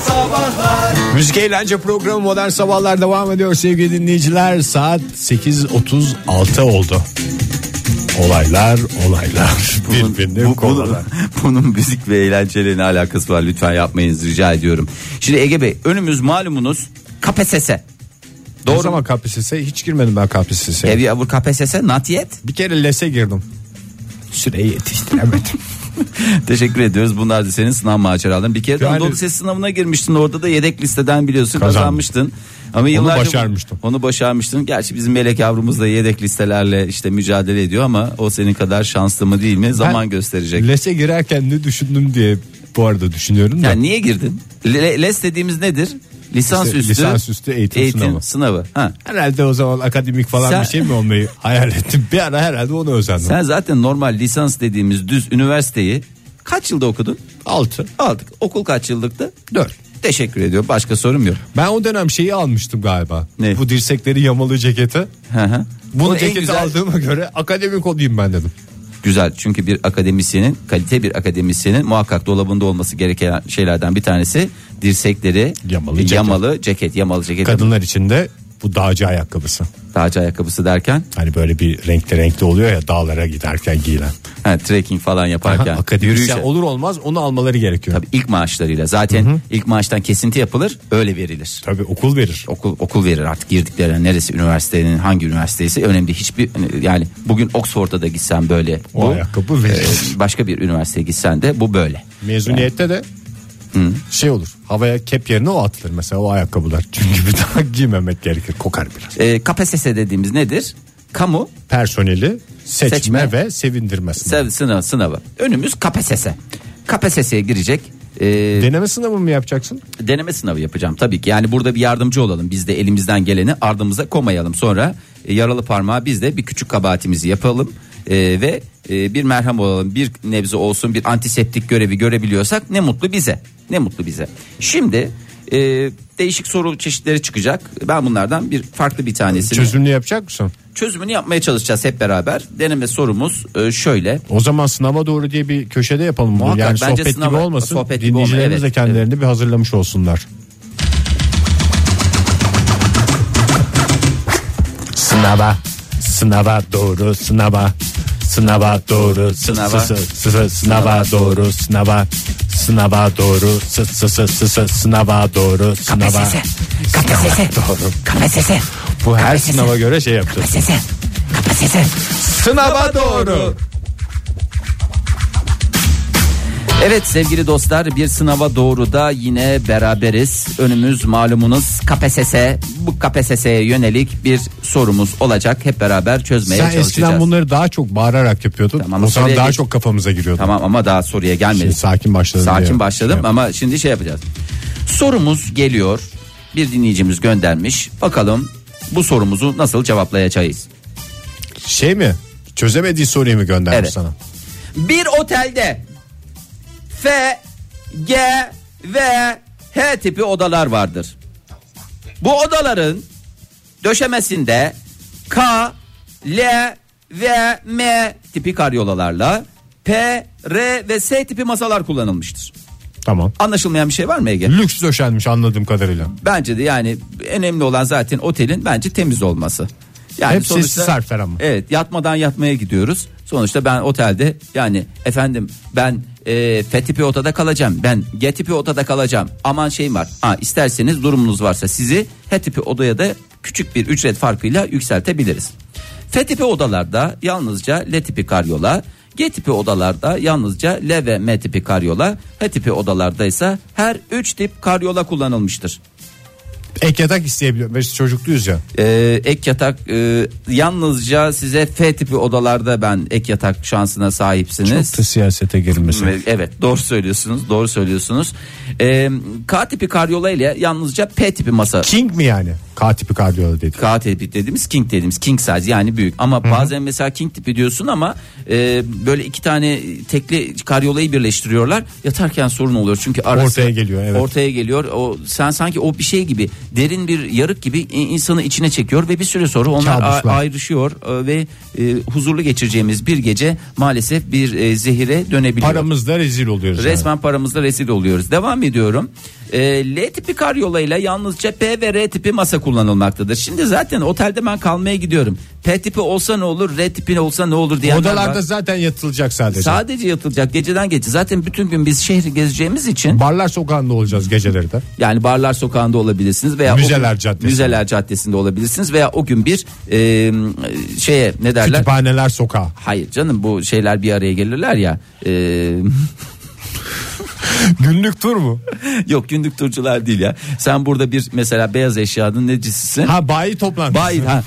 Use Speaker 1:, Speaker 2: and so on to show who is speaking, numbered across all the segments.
Speaker 1: Sabahlar Müzik eğlence programı Modern Sabahlar devam ediyor sevgili dinleyiciler. Saat 8.36 oldu. Olaylar olaylar birbirine
Speaker 2: bunun,
Speaker 1: konular.
Speaker 2: bunun müzik ve eğlenceyle ne alakası var lütfen yapmayınız rica ediyorum. Şimdi Ege Bey önümüz malumunuz KPSS.
Speaker 1: Doğru
Speaker 2: Doğru mu?
Speaker 1: ama KPSS'ye hiç girmedim ben KPSS'ye.
Speaker 2: Have you ever KPSS not yet?
Speaker 1: Bir kere LES'e girdim. Süreyi yetiştiremedim.
Speaker 2: Teşekkür ediyoruz. Bunlar da senin sınav maceraların. Bir kere de
Speaker 1: Yani-
Speaker 2: Anadolu Ses sınavına girmiştin. Orada da yedek listeden biliyorsun
Speaker 1: Kazandım.
Speaker 2: kazanmıştın. Ama yıllarca
Speaker 1: başarmıştım.
Speaker 2: Onu başarmıştın. Gerçi bizim Melek yavrumuz da yedek listelerle işte mücadele ediyor ama o senin kadar şanslı mı değil mi zaman
Speaker 1: Ben
Speaker 2: gösterecek.
Speaker 1: LES'e girerken ne düşündüm diye bu arada düşünüyorum da.
Speaker 2: yani niye girdin? Le- les dediğimiz nedir? Lisans
Speaker 1: İşte
Speaker 2: üstü,
Speaker 1: lisansüstü eğitim sınavı.
Speaker 2: Ha.
Speaker 1: Herhalde o zaman akademik falan
Speaker 2: Sen-
Speaker 1: bir şey mi olmayı hayal ettim. Bir ara herhalde onu özendim.
Speaker 2: Sen zaten normal lisans dediğimiz düz üniversiteyi kaç yılda okudun?
Speaker 1: 6.
Speaker 2: Aldık. Okul kaç yıllıktı?
Speaker 1: 4.
Speaker 2: Teşekkür ediyorum. Başka sorum yok.
Speaker 1: Ben o dönem şeyi almıştım galiba.
Speaker 2: Ne?
Speaker 1: Bu dirsekleri yamalı ceketi.
Speaker 2: Hı hı.
Speaker 1: Bunu
Speaker 2: Bunu en
Speaker 1: ceketi aldığıma göre akademik olayım ben dedim.
Speaker 2: Güzel çünkü bir akademisyenin kalite bir akademisyenin muhakkak dolabında olması gereken şeylerden bir tanesi dirsekleri
Speaker 1: Yamalı
Speaker 2: yamalı,
Speaker 1: ceket.
Speaker 2: ceket. yamalı ceket.
Speaker 1: Kadınlar için de bu dağcı ayakkabısı.
Speaker 2: Dağcı ayakkabısı derken
Speaker 1: Hani böyle bir renkli renkli oluyor ya dağlara giderken giyilen.
Speaker 2: ha, trekking falan yaparken
Speaker 1: Akademisyen
Speaker 2: yürüyüşe.
Speaker 1: olur olmaz onu almaları gerekiyor.
Speaker 2: Tabii ilk maaşlarıyla zaten ilk maaştan kesinti yapılır öyle verilir.
Speaker 1: Tabii okul verir.
Speaker 2: Okul okul verir artık girdikleri neresi üniversitenin hangi üniversitesi önemli değil. hiçbir yani bugün Oxford'a da gitsen böyle
Speaker 1: O ayakkabı verir.
Speaker 2: Ee, başka bir üniversiteye gitsen de bu böyle.
Speaker 1: Mezuniyette de şey olur. Havaya kep yerine o atılır mesela o ayakkabılar. Çünkü bir daha giymemek gerekir. Kokar biraz.
Speaker 2: Ee, KPSS dediğimiz nedir? Kamu
Speaker 1: Personeli seçme,
Speaker 2: Seçme.
Speaker 1: ve sevindirme sınavı.
Speaker 2: Sev- sınavı, sınavı. Önümüz KPSS. KPSS'ye girecek. Ee,
Speaker 1: Deneme sınavı mı yapacaksın?
Speaker 2: deneme sınavı yapacağım tabii ki. Yani burada bir yardımcı olalım. Biz de elimizden geleni ardımıza koymayalım. Sonra e, yaralı parmağı biz de bir küçük kabahatimizi yapalım. Ee, ve e, bir merhem olalım. Bir nebze olsun bir antiseptik görevi görebiliyorsak ne mutlu bize. Ne mutlu bize. Şimdi e, değişik soru çeşitleri çıkacak. Ben bunlardan bir farklı bir tanesini
Speaker 1: Çözümlü yapacak mısın?
Speaker 2: çözümünü yapmaya çalışacağız hep beraber. Deneme sorumuz e, şöyle.
Speaker 1: O zaman sınava doğru diye bir köşede yapalım bunu.
Speaker 2: Muhakkak,
Speaker 1: yani
Speaker 2: bence
Speaker 1: sohbet gibi
Speaker 2: sınava-
Speaker 1: olmasın.
Speaker 2: sohbet gibi
Speaker 1: Dinleyicilerimiz
Speaker 2: olma,
Speaker 1: de
Speaker 2: evet,
Speaker 1: kendilerini bir hazırlamış olsunlar. Sınava, sınava doğru sınava, sınava doğru
Speaker 2: Sınava.
Speaker 1: sınava, sınava doğru sınava, sınava doğru sı- sı- sı- sı- sı- sınava doğru sınava.
Speaker 3: KPSS. KPSS.
Speaker 1: Doğru.
Speaker 3: KPSS.
Speaker 1: Bu her sınava göre şey yapacağız.
Speaker 3: KPSS. KPSS.
Speaker 1: Sınava doğru.
Speaker 2: Evet sevgili dostlar bir sınava doğru da yine beraberiz. Önümüz malumunuz KPSS. Bu KPSS'ye yönelik bir sorumuz olacak. Hep beraber çözmeye
Speaker 1: Sen
Speaker 2: çalışacağız.
Speaker 1: eskiden bunları daha çok bağırarak yapıyordun.
Speaker 2: Tamam,
Speaker 1: o zaman
Speaker 2: oraya
Speaker 1: daha
Speaker 2: geç-
Speaker 1: çok kafamıza giriyordu.
Speaker 2: Tamam ama daha soruya
Speaker 1: Şimdi
Speaker 2: gelmedik.
Speaker 1: Şey, sakin başladım
Speaker 2: Sakin
Speaker 1: diye.
Speaker 2: başladım
Speaker 1: Şey
Speaker 2: ama şimdi şey yapacağız. Sorumuz geliyor. Bir dinleyicimiz göndermiş. Bakalım bu sorumuzu nasıl cevaplayacağız?
Speaker 1: Şey mi? Çözemediği soruyu mu göndermiş
Speaker 2: Evet.
Speaker 1: sana?
Speaker 2: Bir otelde F, G ve H tipi odalar vardır. Bu odaların döşemesinde K, L ve M tipi karyolalarla P, R ve S tipi masalar kullanılmıştır.
Speaker 1: Tamam.
Speaker 2: Anlaşılmayan bir şey var mı Ege?
Speaker 1: Lüks döşenmiş anladığım kadarıyla.
Speaker 2: Bence de yani önemli olan zaten otelin bence temiz olması. Yani
Speaker 1: Hep sessiz harfler ama.
Speaker 2: Evet yatmadan yatmaya gidiyoruz. Sonuçta ben otelde yani efendim ben e, F tipi otada kalacağım. Ben G tipi otada kalacağım. Aman şeyim var. Ha, isterseniz durumunuz varsa sizi H tipi odaya da küçük bir ücret farkıyla yükseltebiliriz. F tipi odalarda yalnızca L tipi karyola, G tipi odalarda yalnızca L ve M tipi karyola, H tipi odalarda ise her üç tip karyola kullanılmıştır.
Speaker 1: Ek yatak isteyebiliyor. Biz çocukluyuz ya.
Speaker 2: Ee, ek yatak e, yalnızca size F tipi odalarda ben ek yatak şansına sahipsiniz.
Speaker 1: siyasete girmesi.
Speaker 2: Ve- Evet doğru söylüyorsunuz doğru söylüyorsunuz. Ee, K tipi karyola ile yalnızca P tipi masa.
Speaker 1: King mi yani? K tipi kardiyola dedi.
Speaker 2: K tipi dediğimiz king dediğimiz king size yani büyük ama bazen mesela king tipi diyorsun ama e, böyle iki tane tekli karyolayı birleştiriyorlar yatarken sorun oluyor çünkü arası
Speaker 1: Ortaya geliyor, evet.
Speaker 2: ortaya geliyor o sen sanki o bir şey gibi derin bir yarık gibi i- insanı içine çekiyor ve bir süre sonra onlar a-
Speaker 1: Kabuslar.
Speaker 2: ayrışıyor e, ve e, huzurlu geçireceğimiz bir gece maalesef bir e, zehire dönebiliyor.
Speaker 1: Paramızda rezil oluyoruz. yani.
Speaker 2: Resmen paramızla rezil oluyoruz. Devam ediyorum. Ee, L tipi karyolayla yalnızca P ve R tipi masa kullanılmaktadır. Şimdi zaten otelde ben kalmaya gidiyorum. P tipi olsa ne olur, R tipi olsa ne olur diye.
Speaker 1: Odalarda zaten yatılacak sadece.
Speaker 2: sadece yatılacak geceden gece. Zaten bütün gün biz şehri gezeceğimiz için
Speaker 1: Barlar sokağında olacağız geceleri de.
Speaker 2: yani barlar sokağında olabilirsiniz veya o
Speaker 1: Müzeler
Speaker 2: gün-
Speaker 1: Caddesi.
Speaker 2: Müzeler Caddesi'nde olabilirsiniz veya o gün bir e, şeye ne derler?
Speaker 1: Kütüphaneler sokağı.
Speaker 2: Hayır canım bu şeyler bir araya gelirler ya. E,
Speaker 1: Günlük tur mu?
Speaker 2: Yok günlük turcular değil ya. Sen burada bir mesela beyaz eşyanın necisisin?
Speaker 1: Ha bayi toplantısı.
Speaker 2: Bayi ha.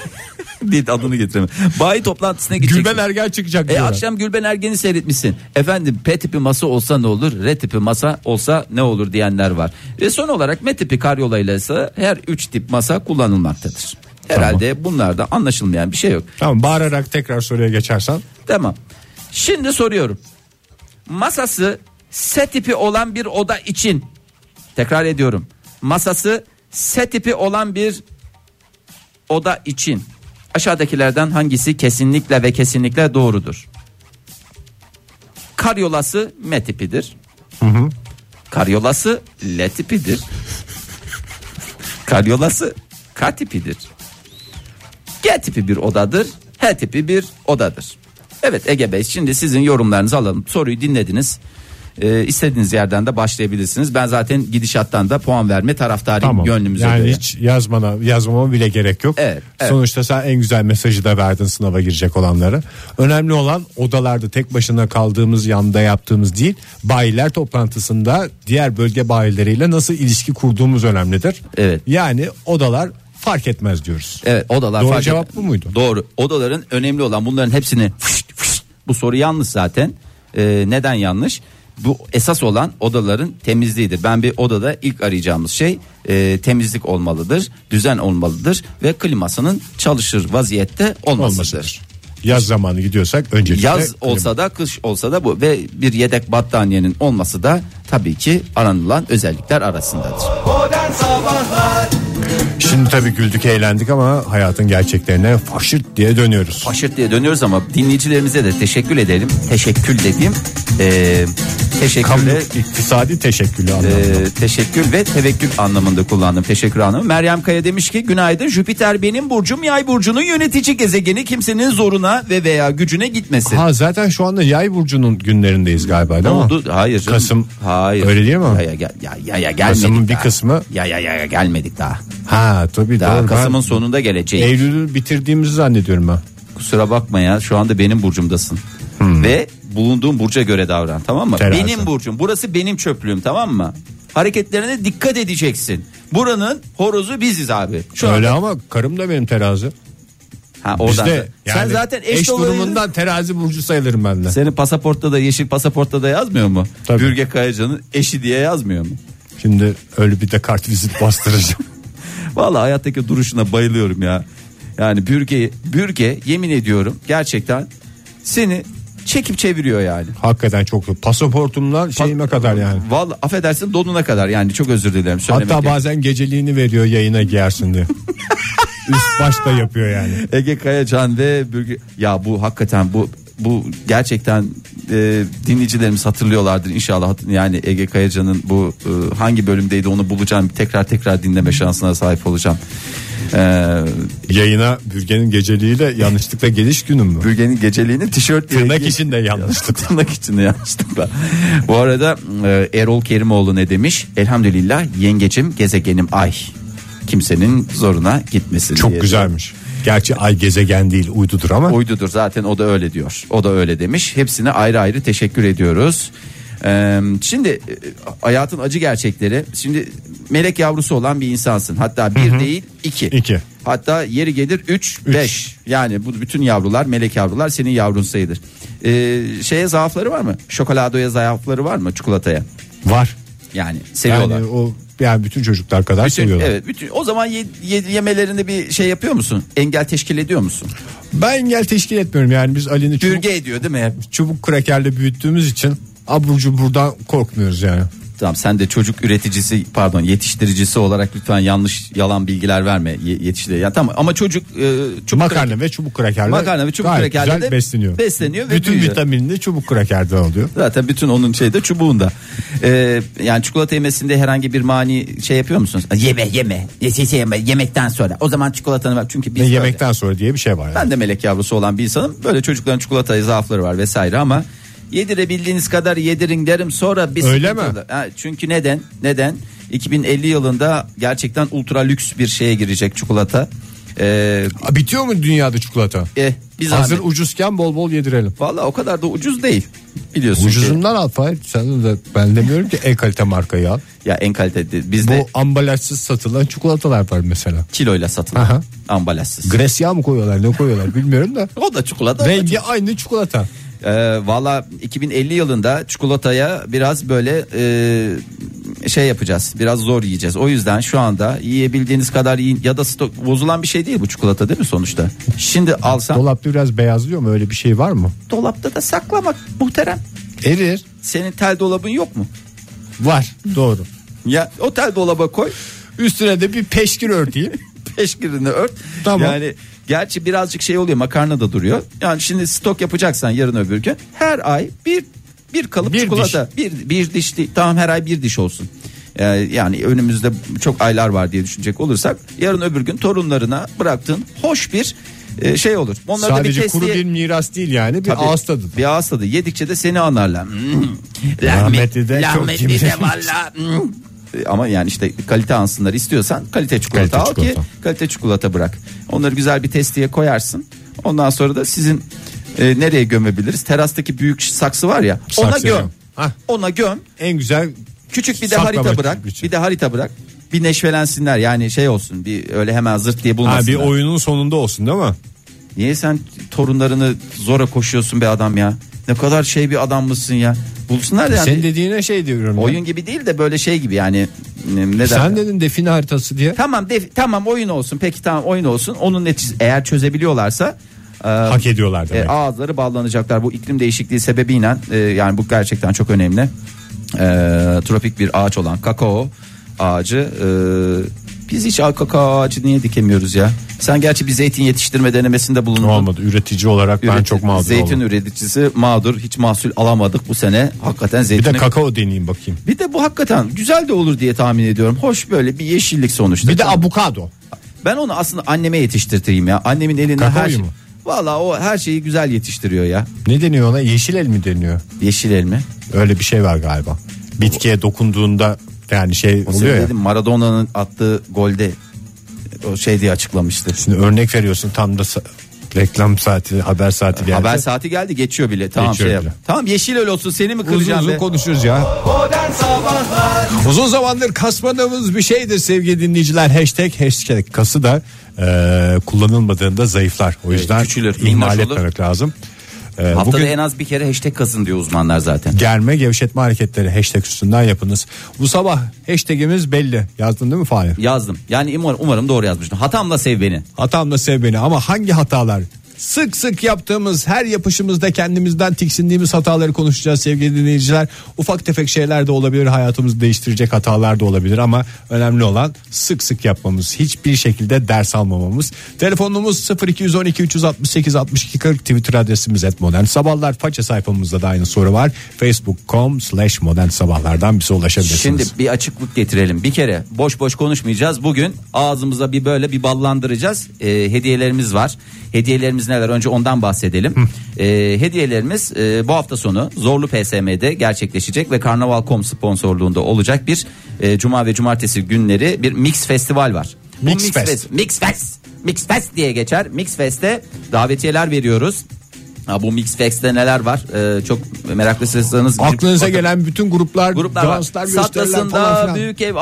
Speaker 2: değil adını getiremem. Bayi toplantısına gideceksin.
Speaker 1: Gülben Ergen çıkacak
Speaker 2: E
Speaker 1: diyorlar.
Speaker 2: akşam Gülben Ergen'i seyretmişsin. Efendim P tipi masa olsa ne olur? R tipi masa olsa ne olur diyenler var. Ve son olarak M tipi karyolayla ise her üç tip masa kullanılmaktadır. Herhalde bunlarda anlaşılmayan bir şey yok.
Speaker 1: Tamam bağırarak tekrar soruya geçersen.
Speaker 2: Tamam. Şimdi soruyorum. Masası S tipi olan bir oda için tekrar ediyorum. Masası S tipi olan bir oda için aşağıdakilerden hangisi kesinlikle ve kesinlikle doğrudur? Karyolası M tipidir. Karyolası L tipidir. Karyolası K tipidir. G tipi bir odadır. H tipi bir odadır. Evet Ege Bey şimdi sizin yorumlarınızı alalım. Soruyu dinlediniz. Ee, istediğiniz yerden de başlayabilirsiniz. Ben zaten gidişattan da puan verme taraftarıyım
Speaker 1: Tamam.
Speaker 2: gönlümüze
Speaker 1: yani
Speaker 2: göre.
Speaker 1: hiç yazmana yazmama bile gerek yok.
Speaker 2: Evet, evet.
Speaker 1: Sonuçta sen en güzel mesajı da verdin sınava girecek olanlara. Önemli olan odalarda tek başına kaldığımız yanda yaptığımız değil. Bayiler toplantısında diğer bölge bayileriyle nasıl ilişki kurduğumuz önemlidir.
Speaker 2: Evet.
Speaker 1: Yani odalar fark etmez diyoruz.
Speaker 2: Evet odalar
Speaker 1: Doğru
Speaker 2: fark
Speaker 1: cevap bu muydu?
Speaker 2: Doğru. Odaların önemli olan bunların hepsini fışt fışt. bu soru yanlış zaten. Ee, neden yanlış? Bu esas olan odaların temizliğidir. Ben bir odada ilk arayacağımız şey e, temizlik olmalıdır, düzen olmalıdır ve klimasının çalışır vaziyette olmasıdır.
Speaker 1: Olmasıdır. Yaz zamanı gidiyorsak öncelikle
Speaker 2: Yaz olsa da kış olsa da bu ve bir yedek battaniyenin olması da tabii ki aranılan özellikler arasındadır.
Speaker 1: Şimdi tabii güldük eğlendik ama hayatın gerçeklerine faşırt diye dönüyoruz.
Speaker 2: Paşırt diye dönüyoruz ama dinleyicilerimize de teşekkür edelim. Teşekkür dediğim e,
Speaker 1: Kamu
Speaker 2: teşekkürle
Speaker 1: iktisadi teşekkülü anlamında.
Speaker 2: e, teşekkür ve tevekkül anlamında kullandım teşekkür anlamı. Meryem Kaya demiş ki günaydın Jüpiter benim burcum yay burcunun yönetici gezegeni kimsenin zoruna ve veya gücüne gitmesin.
Speaker 1: Ha zaten şu anda yay burcunun günlerindeyiz galiba değil
Speaker 2: ne
Speaker 1: mi?
Speaker 2: oldu? Hayır. canım.
Speaker 1: Kasım.
Speaker 2: Hayır.
Speaker 1: Öyle değil mi?
Speaker 2: Ya ya ya, ya, ya gelmedik
Speaker 1: Kasım'ın bir
Speaker 2: daha.
Speaker 1: kısmı-
Speaker 2: Ya ya ya ya gelmedik daha.
Speaker 1: Ha tabii
Speaker 2: Daha
Speaker 1: doğru.
Speaker 2: Kasım'ın
Speaker 1: Ben
Speaker 2: sonunda geleceğiz.
Speaker 1: Eylül'ü bitirdiğimizi zannediyorum ben.
Speaker 2: Kusura bakma ya şu anda benim burcumdasın.
Speaker 1: Hmm.
Speaker 2: Ve bulunduğun burca göre davran tamam mı?
Speaker 1: Terazi.
Speaker 2: Benim burcum burası benim çöplüğüm tamam mı? Hareketlerine dikkat edeceksin. Buranın horozu biziz abi. Şu
Speaker 1: Öyle
Speaker 2: an-
Speaker 1: ama karım da benim terazi.
Speaker 2: Ha,
Speaker 1: Biz
Speaker 2: oradan.
Speaker 1: de
Speaker 2: da-
Speaker 1: yani
Speaker 2: Sen zaten eş,
Speaker 1: eş
Speaker 2: dolayı-
Speaker 1: durumundan terazi burcu sayılırım ben de.
Speaker 2: Senin pasaportta da yeşil pasaportta da yazmıyor mu?
Speaker 1: Tabii.
Speaker 2: Bürge Kayacan'ın eşi diye yazmıyor mu?
Speaker 1: Şimdi öyle bir de kart vizit bastıracağım.
Speaker 2: Vallahi hayattaki duruşuna bayılıyorum ya. Yani Bürge, Bürge yemin ediyorum gerçekten seni çekip çeviriyor yani.
Speaker 1: Hakikaten çok pasaportumdan şeyime kadar yani.
Speaker 2: Vallahi affedersin donuna kadar yani çok özür dilerim. Söylemek
Speaker 1: Hatta
Speaker 2: yok.
Speaker 1: bazen geceliğini veriyor yayına giyersin diye. Üst başta yapıyor yani.
Speaker 2: Ege Kayacan ve Bürge... Ya bu hakikaten bu bu gerçekten e, dinleyicilerimiz hatırlıyorlardır inşallah Hat- yani Ege Kayacan'ın bu e, hangi bölümdeydi onu bulacağım tekrar tekrar dinleme şansına sahip olacağım. E,
Speaker 1: Yayına bürgenin geceliğiyle yanlışlıkla geliş günüm mü?
Speaker 2: Bürge'nin geceliğini tişört diye
Speaker 1: Tırnak içinde yanlışlık.
Speaker 2: tırnak içinde yanlışlıkla. Bu arada e, Erol Kerimoğlu ne demiş? Elhamdülillah yengecim gezegenim ay. Kimsenin zoruna gitmesin
Speaker 1: Çok
Speaker 2: diye.
Speaker 1: güzelmiş. Gerçi ay gezegen değil uydudur ama.
Speaker 2: Uydudur zaten o da öyle diyor. O da öyle demiş. Hepsine ayrı ayrı teşekkür ediyoruz. Ee, şimdi e, hayatın acı gerçekleri. Şimdi melek yavrusu olan bir insansın. Hatta bir değil iki.
Speaker 1: İki.
Speaker 2: Hatta yeri gelir üç, beş. Yani bu bütün yavrular melek yavrular senin yavrun sayıdır. Ee, şeye zaafları var mı? Şokoladoya zaafları var mı? Çikolataya.
Speaker 1: Var.
Speaker 2: Yani seviyorlar.
Speaker 1: Yani o yani bütün çocuklar kadar
Speaker 2: Bütün-
Speaker 1: seviyorlar.
Speaker 2: evet, bütün, o zaman ye- ye- yemelerinde bir şey yapıyor musun? Engel teşkil ediyor musun?
Speaker 1: Ben engel teşkil etmiyorum yani biz Ali'ni çubuk,
Speaker 2: Bürge ediyor değil mi?
Speaker 1: çubuk krakerle büyüttüğümüz için abur cuburdan korkmuyoruz yani.
Speaker 2: Tamam sen de çocuk üreticisi pardon yetiştiricisi olarak lütfen yanlış yalan bilgiler verme ye- yetiştire. Ya tamam ama çocuk e, çubuk
Speaker 1: makarna ve çubuk krakerler.
Speaker 2: Makarna ve çubuk
Speaker 1: gayet
Speaker 2: krakerle
Speaker 1: güzel
Speaker 2: de
Speaker 1: besleniyor.
Speaker 2: besleniyor ve
Speaker 1: Bütün
Speaker 2: büyüyor.
Speaker 1: vitaminini çubuk krakerden alıyor.
Speaker 2: Zaten bütün onun şeyde çubuğunda. Ee, yani çikolata yemesinde herhangi bir mani şey yapıyor musunuz? Yeme yeme. Yesese yeme yemekten sonra. O zaman çikolatanı ver. Çünkü biz
Speaker 1: Ve
Speaker 2: böyle-
Speaker 1: yemekten sonra diye bir şey var. yani.
Speaker 2: Ben de melek yavrusu olan bir insanım. Böyle çocukların çikolata zaafları var vesaire ama yedirebildiğiniz kadar yedirin derim sonra bir
Speaker 1: Öyle
Speaker 2: sıkıntı
Speaker 1: mi?
Speaker 2: olur. Ha, çünkü neden? Neden? 2050 yılında gerçekten ultra lüks bir şeye girecek çikolata. Ee,
Speaker 1: Aa, Bitiyor mu dünyada çikolata?
Speaker 2: eh, biz
Speaker 1: Hazır ucuzken bol bol yedirelim.
Speaker 2: Valla o kadar da ucuz değil. Biliyorsun ki-
Speaker 1: Ucuzundan al Fahir. Sen de ben demiyorum ki en kalite markayı al.
Speaker 2: Ya en kaliteli. Bizde
Speaker 1: Bu ambalajsız satılan çikolatalar var mesela.
Speaker 2: kiloyla satılan
Speaker 1: Aha.
Speaker 2: ambalajsız.
Speaker 1: Gres yağı mı koyuyorlar ne koyuyorlar bilmiyorum da.
Speaker 2: o da çikolata.
Speaker 1: Rengi aynı çikolata.
Speaker 2: Ee, Valla 2050 yılında çikolataya biraz böyle e, şey yapacağız. Biraz zor yiyeceğiz. O yüzden şu anda yiyebildiğiniz kadar yiyin ya da stok bozulan bir şey değil bu çikolata değil mi sonuçta? Şimdi alsan
Speaker 1: Dolapta biraz beyazlıyor mu öyle bir şey var mı?
Speaker 2: dolapta da saklamak muhterem.
Speaker 1: Erir.
Speaker 2: Senin tel dolabın yok mu?
Speaker 1: Var doğru.
Speaker 2: Ya o tel dolaba koy.
Speaker 1: Üstüne de bir peşkir örteyim.
Speaker 2: peşkirini ört.
Speaker 1: Tamam.
Speaker 2: Yani gerçi birazcık şey oluyor makarna da duruyor. Yani şimdi stok yapacaksan yarın öbür gün her ay bir bir kalıp
Speaker 1: Bir
Speaker 2: çikolata bir bir diş değil, tamam her ay bir diş olsun. Ee, yani önümüzde çok aylar var diye düşünecek olursak yarın öbür gün torunlarına bıraktığın hoş bir e, şey olur. Onları da bir
Speaker 1: Sadece kuru
Speaker 2: testiye-
Speaker 1: bir miras değil yani bir
Speaker 2: Tabii,
Speaker 1: ağız tadı. da.
Speaker 2: Bir ağız tadı. Yedikçe de seni anarlar. Hmm.
Speaker 1: Rahmetli de çok
Speaker 2: Rahmetli
Speaker 1: yemiş.
Speaker 2: de valla. Hmm. Ama yani işte kalite ansınlar istiyorsan kalite çikolata
Speaker 1: Kalite
Speaker 2: al
Speaker 1: çikolata.
Speaker 2: ki kalite çikolata bırak. Onları güzel bir testiye koyarsın. Ondan sonra da sizin e, nereye gömebiliriz? Terastaki büyük saksı var ya. Ona
Speaker 1: Saksıya.
Speaker 2: göm.
Speaker 1: Hah.
Speaker 2: Ona göm.
Speaker 1: En güzel
Speaker 2: Küçük bir de
Speaker 1: Saklamak
Speaker 2: harita bırak.
Speaker 1: için.
Speaker 2: Bir de harita bırak. Bir neşvelensinler yani şey olsun bir öyle hemen zırt diye
Speaker 1: ha,
Speaker 2: bulmasınlar.
Speaker 1: bir oyunun sonunda olsun değil mi?
Speaker 2: Niye sen torunlarını zora koşuyorsun be adam ya? Ne kadar şey bir adam mısın ya? Bulsunlar da yani.
Speaker 1: Senin dediğine şey diyorum. Oyun
Speaker 2: Oyun gibi değil de böyle şey gibi yani. Ne derler?
Speaker 1: Sen dedin define haritası diye.
Speaker 2: Tamam def- tamam oyun olsun. Peki tamam oyun olsun. Onun neticesi eğer çözebiliyorlarsa e,
Speaker 1: Hak ediyorlar demek.
Speaker 2: e, ağızları bağlanacaklar. Bu iklim değişikliği sebebiyle e, yani bu gerçekten çok önemli. E, tropik bir ağaç olan kakao ağacı. e, biz hiç kakao ağacı niye dikemiyoruz ya? Sen gerçi bir zeytin yetiştirme denemesinde bulundun.
Speaker 1: Olmadı üretici olarak ben
Speaker 2: Üretici-
Speaker 1: çok mağdur
Speaker 2: Zeytin
Speaker 1: oldum.
Speaker 2: üreticisi mağdur. Hiç mahsul alamadık bu sene. Hakikaten
Speaker 1: Bir de
Speaker 2: zeytine...
Speaker 1: kakao deneyeyim bakayım.
Speaker 2: Bir de bu hakikaten güzel de olur diye tahmin ediyorum. Hoş böyle bir yeşillik sonuçta.
Speaker 1: Bir de
Speaker 2: Tamam.
Speaker 1: avokado.
Speaker 2: ben onu aslında anneme yetiştirteyim ya. Annemin elinde
Speaker 1: Kakaoyu
Speaker 2: her şey.
Speaker 1: mu?
Speaker 2: Valla o her şeyi güzel yetiştiriyor ya.
Speaker 1: Ne deniyor ona? Yeşil el mi deniyor?
Speaker 2: Yeşil elmi.
Speaker 1: Öyle bir şey var galiba. Bitkiye dokunduğunda yani şey
Speaker 2: O senin
Speaker 1: oluyor ya.
Speaker 2: dedim Maradona'nın attığı golde o şey diye açıklamıştı.
Speaker 1: Şimdi örnek veriyorsun tam da sa- reklam saati, haber saati geldi.
Speaker 2: Haber saati geldi geçiyor bile. Tamam
Speaker 1: Geçiyor
Speaker 2: şey yap.
Speaker 1: bile.
Speaker 2: Tamam yeşil öl olsun seni mi
Speaker 1: Uzun
Speaker 2: kıracağım
Speaker 1: uzun
Speaker 2: be?
Speaker 1: konuşuruz ya. Uzun zamandır kasmadığımız bir şeydir sevgili dinleyiciler. Hashtag hashtag kası da e, kullanılmadığında zayıflar. O yüzden
Speaker 2: küçülür, minnoş
Speaker 1: ihmal
Speaker 2: olur.
Speaker 1: etmemek lazım. E,
Speaker 2: Haftada
Speaker 1: bugün
Speaker 2: en az bir kere hashtag kazın diyor uzmanlar zaten.
Speaker 1: germe gevşetme hareketleri hashtag üstünden yapınız. Bu sabah hashtagimiz belli. Yazdın değil mi Fahir?
Speaker 2: Yazdım. Yani umarım, umarım doğru yazmıştım. Hatamla sev beni.
Speaker 1: Hatamla sev beni ama hangi hatalar? Sık sık yaptığımız her yapışımızda kendimizden tiksindiğimiz hataları konuşacağız sevgili dinleyiciler. Ufak tefek şeyler de olabilir hayatımızı değiştirecek hatalar da olabilir ama önemli olan sık sık yapmamız. Hiçbir şekilde ders almamamız. Telefonumuz 0212 368 62 40 Twitter adresimiz et modern sabahlar. Faça sayfamızda da aynı soru var. Facebook.com slash modern sabahlardan bize ulaşabilirsiniz.
Speaker 2: Şimdi bir açıklık getirelim. Bir kere boş boş konuşmayacağız. Bugün ağzımıza bir böyle bir ballandıracağız. Ee, hediyelerimiz var. Hediyelerimiz neler? Önce ondan bahsedelim. Ee, hediyelerimiz e, bu hafta sonu Zorlu PSM'de gerçekleşecek ve Karnaval.com sponsorluğunda olacak bir e, cuma ve cumartesi günleri bir mix festival var. Bu
Speaker 1: Mix Fest.
Speaker 2: Fest- Mix Fest. Mix Fest diye geçer. Mix Fest'te davetiyeler veriyoruz. Ha, bu Mix Fest'te neler var? Ee, çok meraklısıysanız girip
Speaker 1: Aklınıza
Speaker 2: bakın
Speaker 1: gelen bütün gruplar,
Speaker 2: gruplar var.
Speaker 1: danslar, gösteriler falan
Speaker 2: Saklasında,
Speaker 1: filan.
Speaker 2: büyük ev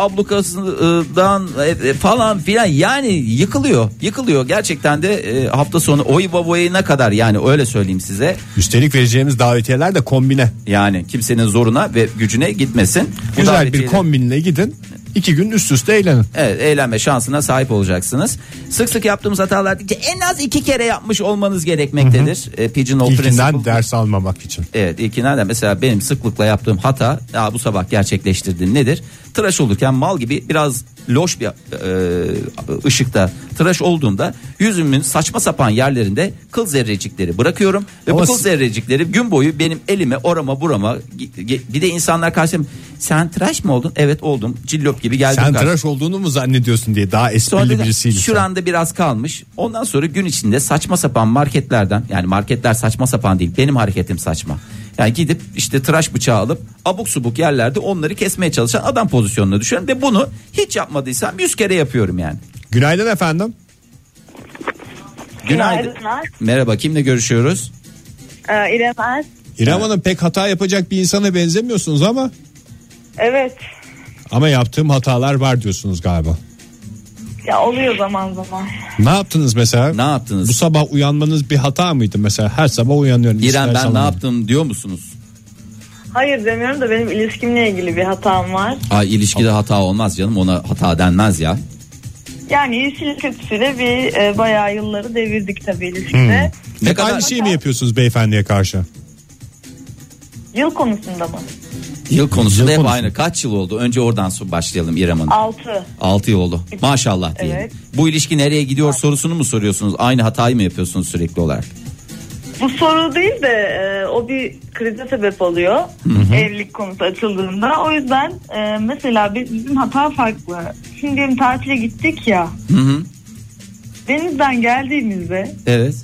Speaker 2: ablukasından e, e, falan filan yani yıkılıyor. Yıkılıyor gerçekten de e, hafta sonu oy babayına kadar yani öyle söyleyeyim size.
Speaker 1: Üstelik vereceğimiz davetiyeler de kombine.
Speaker 2: Yani kimsenin zoruna ve gücüne gitmesin. Bu
Speaker 1: Güzel bir
Speaker 2: davetiyeyle-
Speaker 1: kombinle gidin. İki gün üst üste eğlenin.
Speaker 2: Evet eğlenme şansına sahip olacaksınız. Sık sık yaptığımız hatalar deyince en az iki kere yapmış olmanız gerekmektedir. E, Pigeonhole
Speaker 1: İlkinden
Speaker 2: principle-
Speaker 1: ders almamak için.
Speaker 2: Evet ilkinden de mesela benim sıklıkla yaptığım hata ya bu sabah gerçekleştirdiğim nedir? Tıraş olurken mal gibi biraz loş bir e, ışıkta tıraş olduğumda yüzümün saçma sapan yerlerinde kıl zerrecikleri bırakıyorum. Ve
Speaker 1: Ama
Speaker 2: bu kıl
Speaker 1: s-
Speaker 2: zerrecikleri gün boyu benim elime orama burama gi- gi- bir de insanlar karşıma sen tıraş mı oldun? Evet oldum cillop gibi geldim
Speaker 1: Sen
Speaker 2: karşıma.
Speaker 1: tıraş olduğunu mu zannediyorsun diye daha
Speaker 2: Sonra
Speaker 1: esprili
Speaker 2: da
Speaker 1: birisiydi. sen.
Speaker 2: şuranda biraz kalmış. Ondan sonra gün içinde saçma sapan marketlerden yani marketler saçma sapan değil benim hareketim saçma. Yani gidip işte tıraş bıçağı alıp abuk subuk yerlerde onları kesmeye çalışan adam pozisyonuna düşen ve bunu hiç yapmadıysam yüz kere yapıyorum yani.
Speaker 1: Günaydın efendim.
Speaker 4: Günaydınlar.
Speaker 2: Merhaba kimle görüşüyoruz?
Speaker 4: Ee, İrem Er.
Speaker 1: İrem Hanım pek hata yapacak bir insana benzemiyorsunuz ama
Speaker 4: Evet.
Speaker 1: ama yaptığım hatalar var diyorsunuz galiba.
Speaker 4: Ya oluyor zaman zaman.
Speaker 1: Ne yaptınız mesela?
Speaker 2: Ne yaptınız?
Speaker 1: Bu sabah uyanmanız bir hata mıydı mesela? Her sabah uyanıyorum.
Speaker 2: İrem ben
Speaker 1: İstersen
Speaker 2: ne
Speaker 1: uyanıyorum.
Speaker 2: yaptım diyor musunuz?
Speaker 4: Hayır demiyorum da benim ilişkimle ilgili bir hatam var.
Speaker 2: Ay ilişkide hata olmaz canım ona hata denmez ya.
Speaker 4: Yani iyisiyle kötüsüyle bir e, bayağı yılları devirdik tabii ilişkide.
Speaker 2: Ne
Speaker 1: Hep
Speaker 2: kadar
Speaker 1: aynı şeyi mi yapıyorsunuz beyefendiye karşı?
Speaker 4: Yıl konusunda mı?
Speaker 2: yıl konusunda
Speaker 1: Yıl
Speaker 2: hep
Speaker 1: konusu.
Speaker 2: aynı kaç yıl oldu? Önce oradan su- başlayalım İrem Hanım.
Speaker 4: 6.
Speaker 2: 6 yıl oldu. Maşallah diyelim.
Speaker 4: Evet.
Speaker 2: Bu ilişki nereye gidiyor sorusunu mu soruyorsunuz? Aynı hatayı mı yapıyorsunuz sürekli olarak?
Speaker 4: Bu soru değil de e, o bir krize sebep oluyor. Evlilik konusu açıldığında. O yüzden e, mesela biz- bizim hata farklı. Şimdi diyelim tatile gittik ya.
Speaker 2: Hı hı.
Speaker 4: Denizden geldiğimizde
Speaker 2: Evet.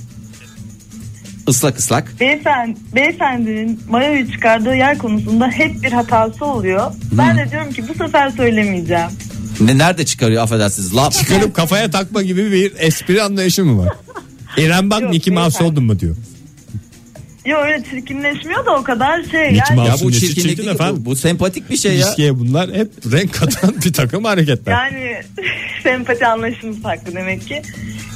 Speaker 2: Islak ıslak.
Speaker 4: Beyefendi, beyefendinin mayoyu çıkardığı yer konusunda hep bir hatası oluyor. Ben
Speaker 2: Hmm.
Speaker 4: de diyorum ki bu sefer söylemeyeceğim.
Speaker 2: Ne nerede çıkarıyor affedersiniz? Laf.
Speaker 1: Çıkarıp kafaya takma gibi bir espri anlayışı mı var? İrem bak
Speaker 4: Yok,
Speaker 1: Mickey Mouse
Speaker 4: beyefendi.
Speaker 1: oldun mu diyor.
Speaker 4: Yo öyle çirkinleşmiyor da o kadar şey.
Speaker 1: Mickey
Speaker 4: yani,
Speaker 1: Mouse.
Speaker 2: Ya bu
Speaker 1: Nesi
Speaker 2: çirkinlik
Speaker 1: çirkin
Speaker 2: değil,
Speaker 1: efendim?
Speaker 2: bu, bu sempatik bir şey ya.
Speaker 1: İlişkiye bunlar hep renk katan bir takım hareketler.
Speaker 4: yani sempati anlayışımız farklı demek ki.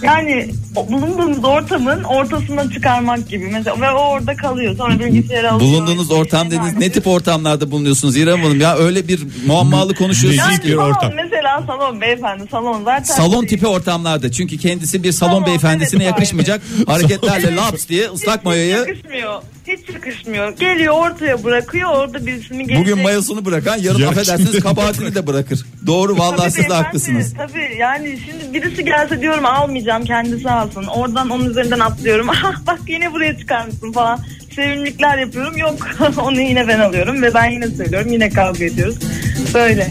Speaker 4: Yani o- bulunduğumuz ortamın ortasına çıkarmak gibi. Mesela ve o orada kalıyor. Sonra bilgisayarı alıyor.
Speaker 2: Bulunduğunuz ortam
Speaker 4: Şeyler
Speaker 2: dediniz ne
Speaker 4: yapıyor.
Speaker 2: tip ortamlarda bulunuyorsunuz İrem Hanım ya öyle bir muammalı konuşuyorsunuz.
Speaker 1: Müzik
Speaker 4: Yani
Speaker 1: bir
Speaker 4: salon,
Speaker 1: ortam.
Speaker 4: Mesela salon beyefendi salon zaten.
Speaker 2: Salon tipi ortamlarda çünkü kendisi bir salon
Speaker 4: Tamam,
Speaker 2: beyefendisine
Speaker 4: evet,
Speaker 2: yakışmayacak hareketlerle laps diye ıslak
Speaker 4: Hiç
Speaker 2: mayoyu
Speaker 4: yakışmıyor. Hiç yakışmıyor. Geliyor ortaya bırakıyor orada birisini gelecek.
Speaker 2: bugün mayosunu bırakan yarın
Speaker 1: Yarın
Speaker 2: affedersiniz
Speaker 1: şimdi-
Speaker 2: kabahatini de bırakır. Doğru vallahi
Speaker 4: Tabii
Speaker 2: siz de
Speaker 4: beyefendi,
Speaker 2: haklısınız.
Speaker 4: Tabii yani şimdi birisi gelse diyorum almayacağım kendisi alsın. Oradan onun üzerinden atlıyorum. Ah bak yine buraya çıkarmışsın falan. Sevimlikler yapıyorum. Yok onu yine ben alıyorum ve ben yine söylüyorum. Yine kavga ediyoruz. Böyle.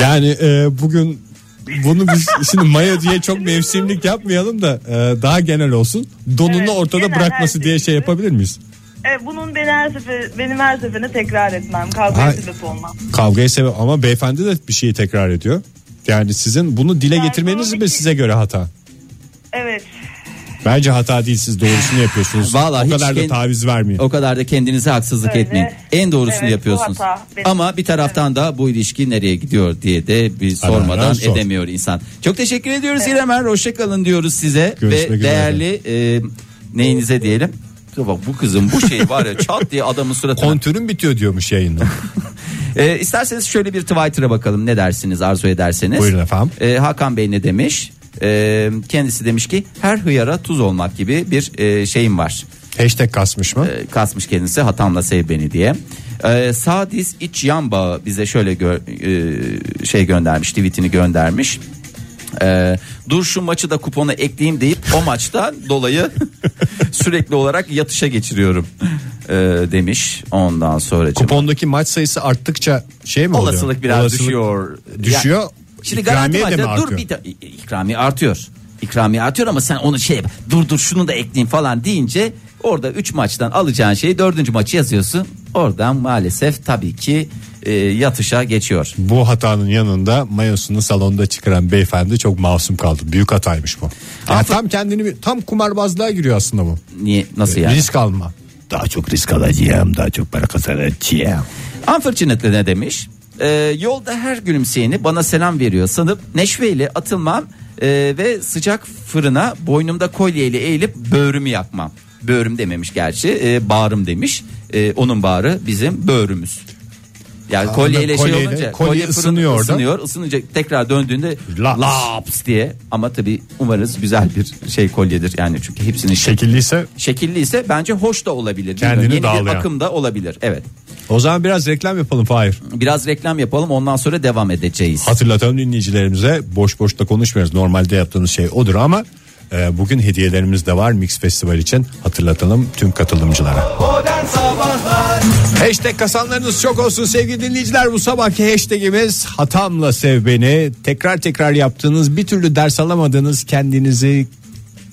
Speaker 1: Yani e, bugün bunu biz şimdi mayo diye çok mevsimlik yapmayalım da e, daha genel olsun. Donunu
Speaker 4: Evet,
Speaker 1: ortada
Speaker 4: genel
Speaker 1: bırakması
Speaker 4: her
Speaker 1: diye şey
Speaker 4: şeyimizi.
Speaker 1: yapabilir miyiz?
Speaker 4: Evet, bunun beni her sefer, benim her seferine tekrar etmem. Kavga
Speaker 1: Ay.
Speaker 4: sebep olmam.
Speaker 1: Kavgayı sebep ama beyefendi de bir şeyi tekrar ediyor. Yani sizin bunu dile
Speaker 4: Yani
Speaker 1: getirmeniz mi
Speaker 4: sonraki-
Speaker 1: size göre hata?
Speaker 4: Evet.
Speaker 1: Bence hata değil siz doğrusunu yapıyorsunuz.
Speaker 2: Vallahi
Speaker 1: o
Speaker 2: hiç
Speaker 1: kadar da
Speaker 2: kend-
Speaker 1: taviz vermeyin.
Speaker 2: O kadar da kendinize haksızlık
Speaker 4: Öyle.
Speaker 2: etmeyin. En doğrusunu
Speaker 4: Evet, bu
Speaker 2: yapıyorsunuz.
Speaker 4: hata benim.
Speaker 2: Ama bir taraftan da bu ilişki nereye gidiyor diye de bir
Speaker 1: Ara ara
Speaker 2: sormadan
Speaker 1: sor.
Speaker 2: edemiyor insan. Çok teşekkür ediyoruz İrem Er. Hoşçakalın diyoruz size.
Speaker 1: Görüşmek
Speaker 2: Ve
Speaker 1: üzere.
Speaker 2: değerli e, neyinize diyelim. Dur Bak bu kızın bu şeyi var ya çat diye adamın suratına.
Speaker 1: Kontürün bitiyor diyormuş yayında.
Speaker 2: E, isterseniz şöyle bir Twitter'a bakalım ne dersiniz arzu ederseniz.
Speaker 1: Buyurun efendim.
Speaker 2: E, Hakan Bey ne demiş? E, kendisi demiş ki her hıyara tuz olmak gibi bir e, şeyim var.
Speaker 1: Hashtag kasmış mı?
Speaker 2: E, kasmış kendisi hatamla sev beni diye. E, sağ diz iç yan bağı bize şöyle gö- e, şey göndermiş tweetini göndermiş. E, dur şu maçı da kupona ekleyeyim deyip o maçtan dolayı sürekli olarak yatışa geçiriyorum e, demiş. Ondan sonra
Speaker 1: Kupondaki maç sayısı arttıkça şey mi oluyor?
Speaker 2: olasılık biraz
Speaker 1: Olasılık-
Speaker 2: düşüyor.
Speaker 1: Düşüyor.
Speaker 2: Ya, şimdi garanti
Speaker 1: İkramiye de mi
Speaker 2: maçta dur
Speaker 1: artıyor?
Speaker 2: bir de ikramiye artıyor. İkramiye artıyor ama sen onu şey yap, dur dur şunu da ekleyeyim falan deyince orada 3 maçtan alacağın şeyi 4. maçı yazıyorsun. Oradan maalesef tabii ki e, yatışa geçiyor.
Speaker 1: Bu hatanın yanında mayosunu salonda çıkaran beyefendi çok masum kaldı. Büyük hataymış bu. Yani
Speaker 2: Aferin.
Speaker 1: tam kendini bir- tam kumarbazlığa giriyor aslında bu.
Speaker 2: Niye nasıl yani?
Speaker 1: Risk alma.
Speaker 5: Daha çok risk alacağım, daha çok para kazanacağım.
Speaker 2: Unfortunately ne demiş? Ee, yolda her gülümseyeni bana selam veriyor sanıp neşveyle atılmam ee, ve sıcak fırına boynumda kolyeyle eğilip böğrümü yakmam. Böğrüm dememiş gerçi ee, bağrım demiş. Ee, onun bağrı bizim böğrümüz. Yani kolyeyle şey
Speaker 1: kolyeyle-
Speaker 2: olunca
Speaker 1: kolye
Speaker 2: kolye fırın
Speaker 1: ısınıyor orada.
Speaker 2: ısınıyor. Isınınca tekrar döndüğünde
Speaker 1: Laps.
Speaker 2: laps. diye ama tabii umarız güzel bir şey kolyedir yani çünkü hepsinin şekil
Speaker 1: Şekilliyse
Speaker 2: şekilli ise bence hoş da olabilir.
Speaker 1: Kendini
Speaker 2: Bilmiyorum. Yeni bir
Speaker 1: dağlayan.
Speaker 2: akım da olabilir. Evet.
Speaker 1: o zaman biraz reklam yapalım Fahir.
Speaker 2: Biraz reklam yapalım ondan sonra devam edeceğiz.
Speaker 1: Hatırlatalım dinleyicilerimize boş boş da konuşmuyoruz. Normalde yaptığımız şey odur ama e, bugün hediyelerimiz de var Mix Festival için. Hatırlatalım tüm katılımcılara. Hashtag kasanlarınız çok olsun sevgili dinleyiciler. Bu sabahki hashtagimiz hatamla sev beni. Tekrar tekrar yaptığınız bir türlü ders alamadığınız kendinizi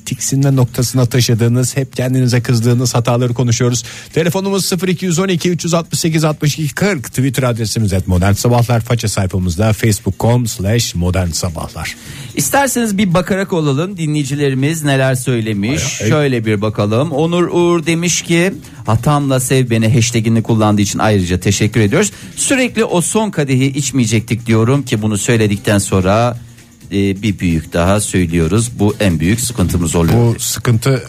Speaker 1: tiksinme noktasına taşıdığınız hep kendinize kızdığınız hataları konuşuyoruz. Telefonumuz 0212 368 62 40 Twitter adresimiz et modern sabahlar faça sayfamızda facebook.com slash modern sabahlar.
Speaker 2: İsterseniz bir bakarak olalım dinleyicilerimiz neler söylemiş. Şöyle bir bakalım. Onur Uğur demiş ki hatamla sev beni hashtagini kullandığı için ayrıca teşekkür ediyoruz. Sürekli o son kadehi içmeyecektik diyorum ki bunu söyledikten sonra e, bir büyük daha söylüyoruz. Bu en büyük sıkıntımız oluyor.
Speaker 1: Bu sıkıntı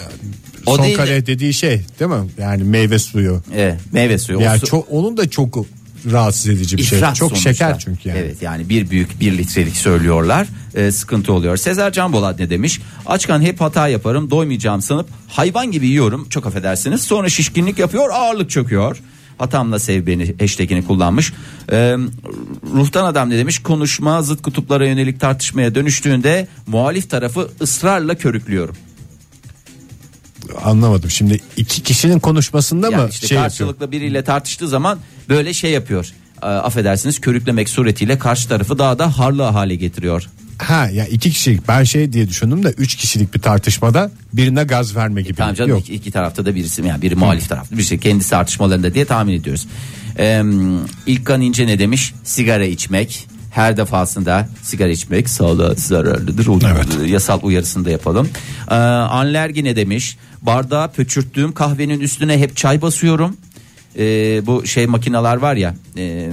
Speaker 2: O
Speaker 1: son
Speaker 2: değil de-
Speaker 1: kare dediği şey değil mi? Yani meyve suyu.
Speaker 2: Evet, E, meyve suyu. O
Speaker 1: Yani
Speaker 2: su-
Speaker 1: çok, onun da çok rahatsız edici bir şey.
Speaker 2: İfrat
Speaker 1: Çok
Speaker 2: sonuçta.
Speaker 1: şeker çünkü yani.
Speaker 2: Evet yani bir büyük bir litrelik söylüyorlar. Ee, sıkıntı oluyor. Sezer Can Bolat ne demiş? Açken hep hata yaparım doymayacağım sanıp hayvan gibi yiyorum çok affedersiniz. Sonra şişkinlik yapıyor ağırlık çöküyor. Hatamla sev beni hashtagini kullanmış. Ee, ruhtan adam ne demiş? Konuşma zıt kutuplara yönelik tartışmaya dönüştüğünde muhalif tarafı ısrarla körüklüyorum.
Speaker 1: Anlamadım. Şimdi iki kişinin konuşmasında
Speaker 2: Yani
Speaker 1: mı
Speaker 2: işte
Speaker 1: şey yapıyor?
Speaker 2: karşılıklı biriyle tartıştığı zaman böyle şey yapıyor. Ee, affedersiniz körüklemek suretiyle karşı tarafı daha da harlı hale getiriyor.
Speaker 1: Ha ya iki kişilik ben şey diye düşündüm de üç kişilik bir tartışmada birine gaz verme gibi.
Speaker 2: E, Tamam canım
Speaker 1: Yok.
Speaker 2: iki, iki tarafta da birisi yani biri muhalif tarafta birisi kendisi tartışmalarında diye tahmin ediyoruz. Ee, İlkan İnce ne demiş? Sigara içmek her defasında sigara içmek sağlığa zararlıdır. O-
Speaker 1: Evet.
Speaker 2: Yasal uyarısını da yapalım. Ee, Anlergi ne demiş? Bardağa pöçürttüğüm kahvenin üstüne hep çay basıyorum. Ee, bu şey makineler var ya e,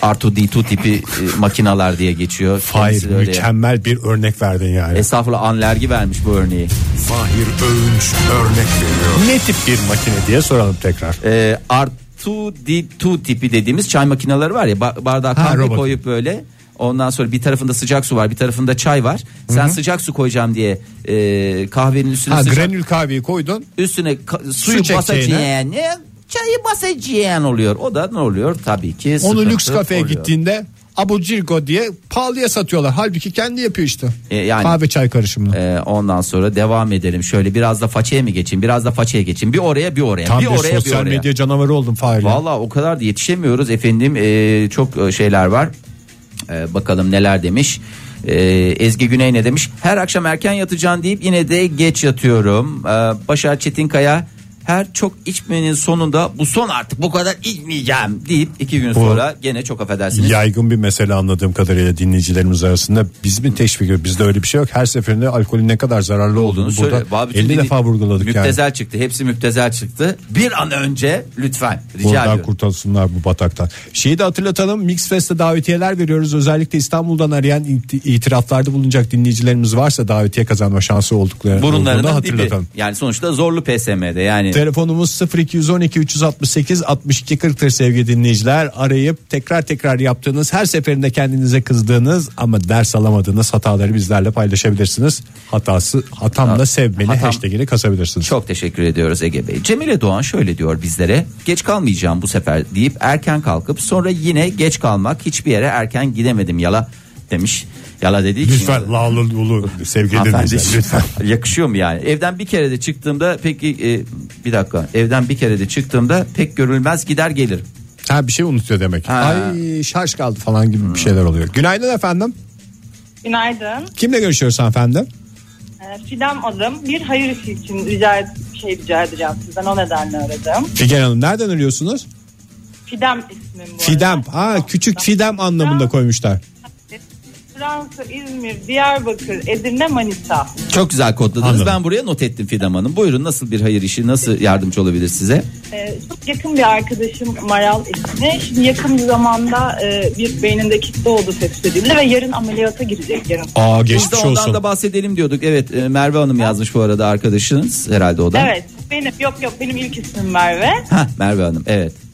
Speaker 2: R2D2 tipi e, makineler diye geçiyor.
Speaker 1: Hayır
Speaker 2: Kendisi de öyle.
Speaker 1: mükemmel bir örnek verdin yani.
Speaker 2: Estağfurullah Anlergi vermiş bu örneği.
Speaker 6: Fahir Öğünç örnek veriyor.
Speaker 1: ne tip bir makine diye soralım tekrar.
Speaker 2: e, R2D2 tipi dediğimiz çay makineleri var ya ba- bardağa
Speaker 1: Ha,
Speaker 2: kahve
Speaker 1: robot.
Speaker 2: koyup böyle ondan sonra bir tarafında sıcak su var bir tarafında çay var. Sen sıcak su koyacağım diye e, kahvenin üstüne
Speaker 1: Ha
Speaker 2: sıcak-
Speaker 1: granül kahveyi koydun.
Speaker 2: üstüne ka- suyu
Speaker 1: çekeceğine-
Speaker 2: basacağın e, çayı basacağın oluyor. O da ne oluyor? Tabii ki
Speaker 1: Onu
Speaker 2: sıkıntı
Speaker 1: lüks kafeye
Speaker 2: oluyor.
Speaker 1: gittiğinde Abocirgo diye pahalıya satıyorlar. Halbuki kendi yapıyor işte.
Speaker 2: E, yani-
Speaker 1: Kahve çay karışımını.
Speaker 2: E, ondan sonra devam edelim. Şöyle biraz da façeye mi geçeyim? Biraz da façeye geçeyim. Bir oraya bir oraya.
Speaker 1: Tam bir,
Speaker 2: bir oraya bir
Speaker 1: sosyal
Speaker 2: oraya.
Speaker 1: medya canavarı oldum Fahir.
Speaker 2: Vallahi o kadar da yetişemiyoruz efendim. Ee, çok e, şeyler var. Ee, bakalım neler demiş. Ee, Ezgi Güney ne demiş? Her akşam erken yatacağım deyip yine de geç yatıyorum. Ee, Başar Çetinkaya her çok içmenin sonunda bu son artık bu kadar içmeyeceğim deyip iki gün sonra gene çok affedersiniz.
Speaker 1: Yaygın bir mesele anladığım kadarıyla dinleyicilerimiz arasında biz mi teşvik ediyoruz? Bizde öyle bir şey yok. Her seferinde alkolün ne kadar zararlı olduğunu
Speaker 2: olduğunu söyle.
Speaker 1: burada
Speaker 2: Vallahi bütün
Speaker 1: 50
Speaker 2: dinley-
Speaker 1: defa vurguladık yani.
Speaker 2: Müptezel çıktı. Hepsi müptezel çıktı. Bir an önce lütfen rica
Speaker 1: Buradan
Speaker 2: ediyorum.
Speaker 1: kurtulsunlar bu bataktan. Şeyi de hatırlatalım. Mix Fest'e davetiyeler veriyoruz. Özellikle İstanbul'dan arayan it- itiraflarda bulunacak dinleyicilerimiz varsa davetiye kazanma şansı oldukları olduğunu
Speaker 2: Burunlarının dibi.
Speaker 1: hatırlatalım.
Speaker 2: Yani sonuçta zorlu PSM'de yani.
Speaker 1: Telefonumuz 0212 368 62 40'tır sevgili dinleyiciler. Arayıp tekrar tekrar yaptığınız her seferinde kendinize kızdığınız ama ders alamadığınız hataları bizlerle paylaşabilirsiniz. Hatası hatamla sev beni
Speaker 2: Hatam-
Speaker 1: hashtag'ini kasabilirsiniz.
Speaker 2: Çok teşekkür ediyoruz Ege Bey. Cemile Doğan şöyle diyor bizlere. Geç kalmayacağım bu sefer deyip erken kalkıp sonra yine geç kalmak hiçbir yere erken gidemedim yala demiş. Yala dediği için-
Speaker 1: Lütfen lağlı ulu sevgili
Speaker 2: Hanımefendi,
Speaker 1: dinleyiciler. Lütfen.
Speaker 2: yakışıyor mu yani? Evden bir kere de çıktığımda peki e, bir dakika. Evden bir kere de çıktığımda pek görülmez gider gelirim.
Speaker 1: Ha bir şey unutuyor demek.
Speaker 2: Ha.
Speaker 1: Ay şarj kaldı falan gibi bir şeyler oluyor. Günaydın efendim.
Speaker 4: Günaydın.
Speaker 1: Kimle görüşüyoruz hanımefendi?
Speaker 4: Ee, Fidan adım. Bir hayır işi için rica et, şey rica edeceğim sizden. O nedenle aradım.
Speaker 1: Figen Hanım nereden arıyorsunuz?
Speaker 4: Fidem ismim bu
Speaker 1: Fidem.
Speaker 4: arada.
Speaker 1: Ha küçük Fidem anlamında koymuşlar.
Speaker 4: Fransa, İzmir, Diyarbakır, Edirne, Manisa.
Speaker 2: Çok güzel kodladınız.
Speaker 1: Anladım.
Speaker 2: Ben buraya not ettim Fidan Hanım. Buyurun nasıl bir hayır işi, nasıl yardımcı olabilir size?
Speaker 4: Ee, çok yakın bir arkadaşım Maral ismi. Şimdi yakın bir zamanda e, bir beyninde kitle oldu tespit edildi ve yarın ameliyata girecek yarın.
Speaker 1: Aa
Speaker 2: Biz de
Speaker 1: geçmiş
Speaker 2: ondan
Speaker 1: şey olsun.
Speaker 2: da bahsedelim diyorduk. Evet e, Merve Hanım yazmış bu arada arkadaşınız herhalde o da.
Speaker 4: Evet benim yok yok benim ilk ismim Merve.
Speaker 2: Hah, Merve Hanım evet.
Speaker 4: Ee,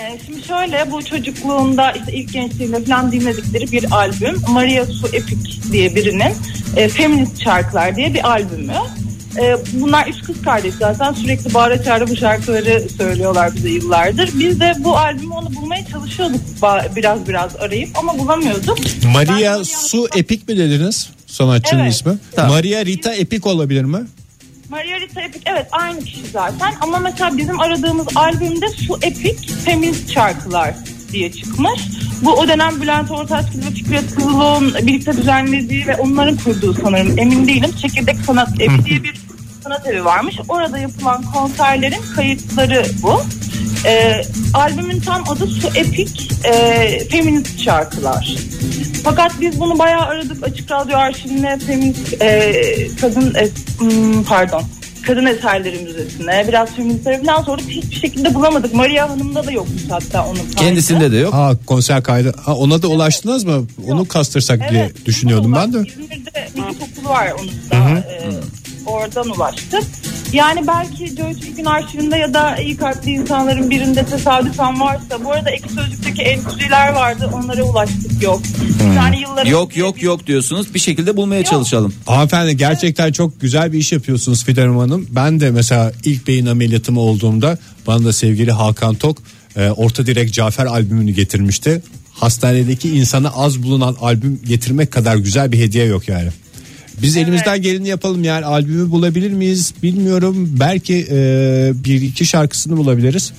Speaker 4: Ee, Şimdi şöyle bu çocukluğunda işte ilk gençliğinde falan dinledikleri bir albüm. Maria Su Epic diye birinin e, Feminist Şarkılar diye bir albümü. E, bunlar üç kız kardeş zaten sürekli bağıra çağıra bu şarkıları söylüyorlar bize yıllardır. Biz de bu albümü onu bulmaya çalışıyorduk ba- biraz biraz arayıp ama bulamıyorduk.
Speaker 1: Maria
Speaker 4: Ben-
Speaker 1: Su Epic mi dediniz sanatçının
Speaker 4: Evet.
Speaker 1: ismi?
Speaker 2: Tamam.
Speaker 1: Maria Rita Epic olabilir mi?
Speaker 4: Maria Rita Epic evet aynı kişi zaten ama mesela bizim aradığımız albümde Su Epic Feminist Şarkılar diye çıkmış. Bu o dönem Bülent Ortaçgil ve Fikret Kızılok'un birlikte düzenlediği ve onların kurduğu sanırım emin değilim. Çekirdek Sanat Evi diye bir sanat evi varmış. Orada yapılan konserlerin kayıtları bu. Ee, albümün tam adı Su Epic e, Feminist Şarkılar. Fakat biz bunu bayağı aradık. Açık Radyo arşivine, feminist e, kadın e, hmm, pardon kadın eserleri müzesine, biraz feministlere falan sorduk. Hiçbir şekilde bulamadık. Maria Hanım'da da yokmuş hatta onun kaydı.
Speaker 2: Kendisinde de yok.
Speaker 1: Ha konser kaydı. Ha, ona da ulaştınız mı? Onu kastırsak diye
Speaker 4: Evet,
Speaker 1: düşünüyordum
Speaker 4: bundan
Speaker 1: ben de.
Speaker 4: ulaştık. İzmir'de Nikit Okulu var onun da. e, oradan ulaştık. Yani belki Joyce Bilgin arşivinde ya da iyi kalpli insanların birinde tesadüfen varsa. Bu arada ek sözlükteki entry'ler vardı. Onlara ulaştık yok. Yani yıllar
Speaker 2: Yok
Speaker 4: önce
Speaker 2: yok
Speaker 4: bir-
Speaker 2: yok diyorsunuz. Bir şekilde bulmaya çalışalım.
Speaker 1: Hanımefendi gerçekten çok güzel bir iş yapıyorsunuz Fidan Hanım. Ben de mesela ilk beyin ameliyatım olduğumda bana da sevgili Hakan Tok e, Orta Direk Cafer albümünü getirmişti. Hastanedeki insana az bulunan albüm getirmek kadar güzel bir hediye yok yani. Biz elimizden geleni yapalım yani albümü bulabilir miyiz bilmiyorum. Belki e, bir iki şarkısını bulabiliriz.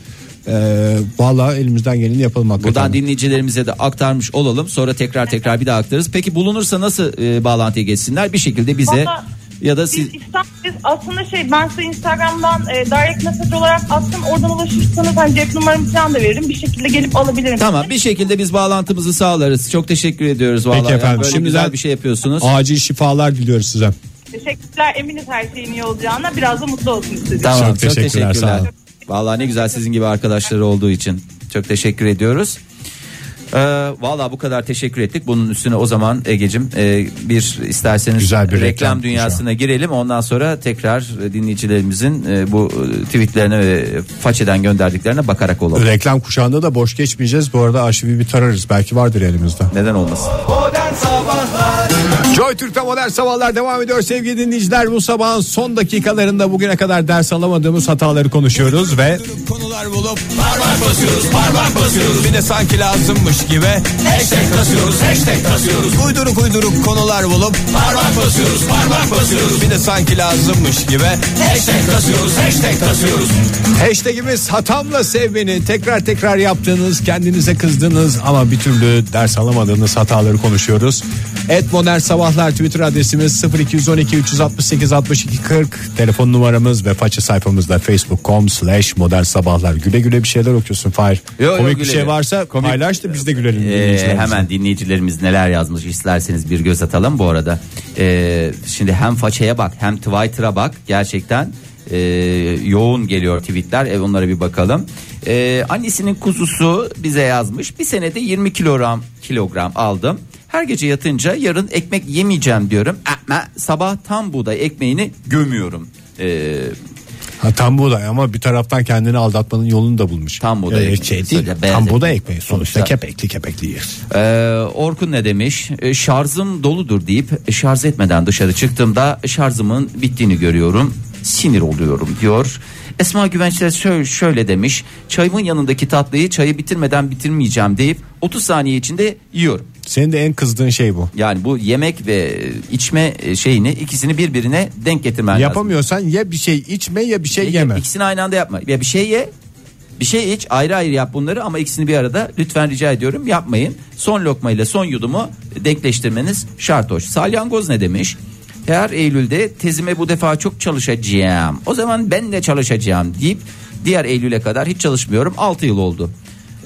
Speaker 1: E, Valla elimizden geleni yapalım hakikaten.
Speaker 2: Buradan dinleyicilerimize de aktarmış olalım. Sonra tekrar tekrar bir daha aktarırız. Peki bulunursa nasıl e, bağlantıya geçsinler? Bir şekilde bize
Speaker 4: Vallahi
Speaker 2: ya da
Speaker 4: Biz
Speaker 2: siz
Speaker 4: İstanbul'dayız. aslında şey ben size Instagram'dan e, direct mesaj olarak attım. Oradan ulaşırsanız hani cep numaramı falan da veririm. Bir şekilde gelip alabilirim.
Speaker 2: Tamam bir şekilde biz bağlantımızı sağlarız. Çok teşekkür ediyoruz vallahi.
Speaker 1: Peki efendim,
Speaker 2: Yani böyle
Speaker 1: şimdiden-
Speaker 2: güzel bir şey yapıyorsunuz.
Speaker 1: Acil şifalar diliyoruz size.
Speaker 4: Teşekkürler. Eminiz her şeyin iyi olacağına. Biraz da mutlu olsun istedim.
Speaker 2: Tamam
Speaker 1: Çok teşekkürler, sağ olun.
Speaker 2: Vallahi ne güzel sizin gibi arkadaşları olduğu için. Çok teşekkür ediyoruz. Ee, Valla bu kadar teşekkür ettik. Bunun üstüne o zaman Ege'cim e, bir isterseniz
Speaker 1: Güzel bir
Speaker 2: reklam,
Speaker 1: reklam
Speaker 2: dünyasına girelim. Ondan sonra tekrar e, dinleyicilerimizin e, bu e, tweetlerine ve façeden gönderdiklerine bakarak olalım.
Speaker 1: Reklam kuşağında da boş geçmeyeceğiz. Bu arada arşivi bir tararız. Belki vardır elimizde.
Speaker 2: Neden olmasın?
Speaker 1: Joy Türk'te modern sabahlar devam ediyor sevgili dinleyiciler. Bu sabahın son dakikalarında bugüne kadar ders alamadığımız hataları konuşuyoruz ve
Speaker 7: konular bulup parmak basıyoruz parmak basıyoruz bir de sanki lazımmış gibi hashtag kasıyoruz hashtag kasıyoruz uyduruk uyduruk konular bulup parmak basıyoruz parmak basıyoruz bir de sanki lazımmış gibi hashtag kasıyoruz hashtag kasıyoruz
Speaker 1: hashtagimiz hatamla sev beni tekrar tekrar yaptığınız kendinize kızdığınız ama bir türlü ders alamadığınız hataları konuşuyoruz. Et modern sabahlar Twitter adresimiz 0212 368 62 40 telefon numaramız ve faça sayfamızda facebook.com slash modern sabahlar güle güle bir şeyler okuyorsun Fahir.
Speaker 2: Yo, yo,
Speaker 1: Komik bir
Speaker 2: gülelim.
Speaker 1: şey varsa
Speaker 2: Komik-
Speaker 1: paylaş da biz de gülelim.
Speaker 2: Ee,
Speaker 1: dinleyicilerimize.
Speaker 2: hemen dinleyicilerimiz neler yazmış isterseniz bir göz atalım bu arada. Ee, şimdi hem façaya bak hem Twitter'a bak gerçekten e, yoğun geliyor tweetler e, onlara bir bakalım. Ee, annesinin kuzusu bize yazmış bir senede 20 kilogram kilogram aldım. Her gece yatınca yarın ekmek yemeyeceğim diyorum. Ama sabah tam buğday ekmeğini gömüyorum. Ee,
Speaker 1: Ha, tam buğday ama bir taraftan kendini aldatmanın yolunu da bulmuş.
Speaker 2: Tam buğday
Speaker 1: Ee,
Speaker 2: ekmeği.
Speaker 1: şey değil,
Speaker 2: Sadece beyaz
Speaker 1: tam buğday
Speaker 2: ekmek.
Speaker 1: ekmeği sonuçta
Speaker 2: Sonuçta-
Speaker 1: kepekli kepekli yiyoruz.
Speaker 2: Ee, Orkun ne demiş? Ee, şarjım doludur deyip şarj etmeden dışarı çıktığımda şarjımın bittiğini görüyorum. Sinir oluyorum diyor. Esma Güvenç de şöyle, şöyle demiş. Çayımın yanındaki tatlıyı çayı bitirmeden bitirmeyeceğim deyip 30 saniye içinde yiyorum.
Speaker 1: Senin de en kızdığın şey bu.
Speaker 2: Yani bu yemek ve içme e, şeyini ikisini birbirine denk getirmen lazım.
Speaker 1: Yapamıyorsan ya bir şey içme ya bir şey yeme.
Speaker 2: İkisini aynı anda yapma. Ya bir şey ye, bir şey iç, ayrı ayrı yap bunları ama ikisini bir arada lütfen rica ediyorum yapmayın. Son lokma ile son yudumu denkleştirmeniz şart hoş. Salyangoz ne demiş? Her Eylül'de tezime bu defa çok çalışacağım. O zaman ben de çalışacağım deyip diğer Eylül'e kadar hiç çalışmıyorum. 6 yıl oldu.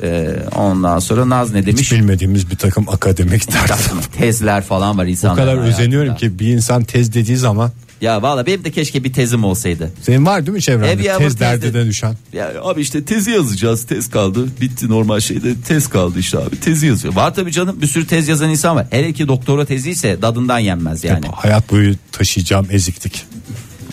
Speaker 2: Ee, ondan sonra Naz ne demiş?
Speaker 1: Hiç bilmediğimiz bir takım akademik tartışma.
Speaker 2: Tezler falan var
Speaker 1: o
Speaker 2: insanların
Speaker 1: kadar
Speaker 2: hayatında.
Speaker 1: özeniyorum ki bir insan tez dediği zaman
Speaker 2: Ya valla benim de keşke bir tezim olsaydı.
Speaker 1: senin var değil mi
Speaker 2: Ev
Speaker 1: çevrende
Speaker 2: yavru
Speaker 1: tez
Speaker 2: tez
Speaker 1: derdine
Speaker 2: dedi.
Speaker 1: düşen?
Speaker 2: Ya abi işte tezi yazacağız. Tez kaldı. Bitti normal şeyde. Tez kaldı işte abi. Tezi yazıyor. Var tabii canım. Bir sürü tez yazan insan var. Hele ki doktora tezi ise dadından yenmez yani.
Speaker 1: Hayat boyu taşıyacağım eziklik.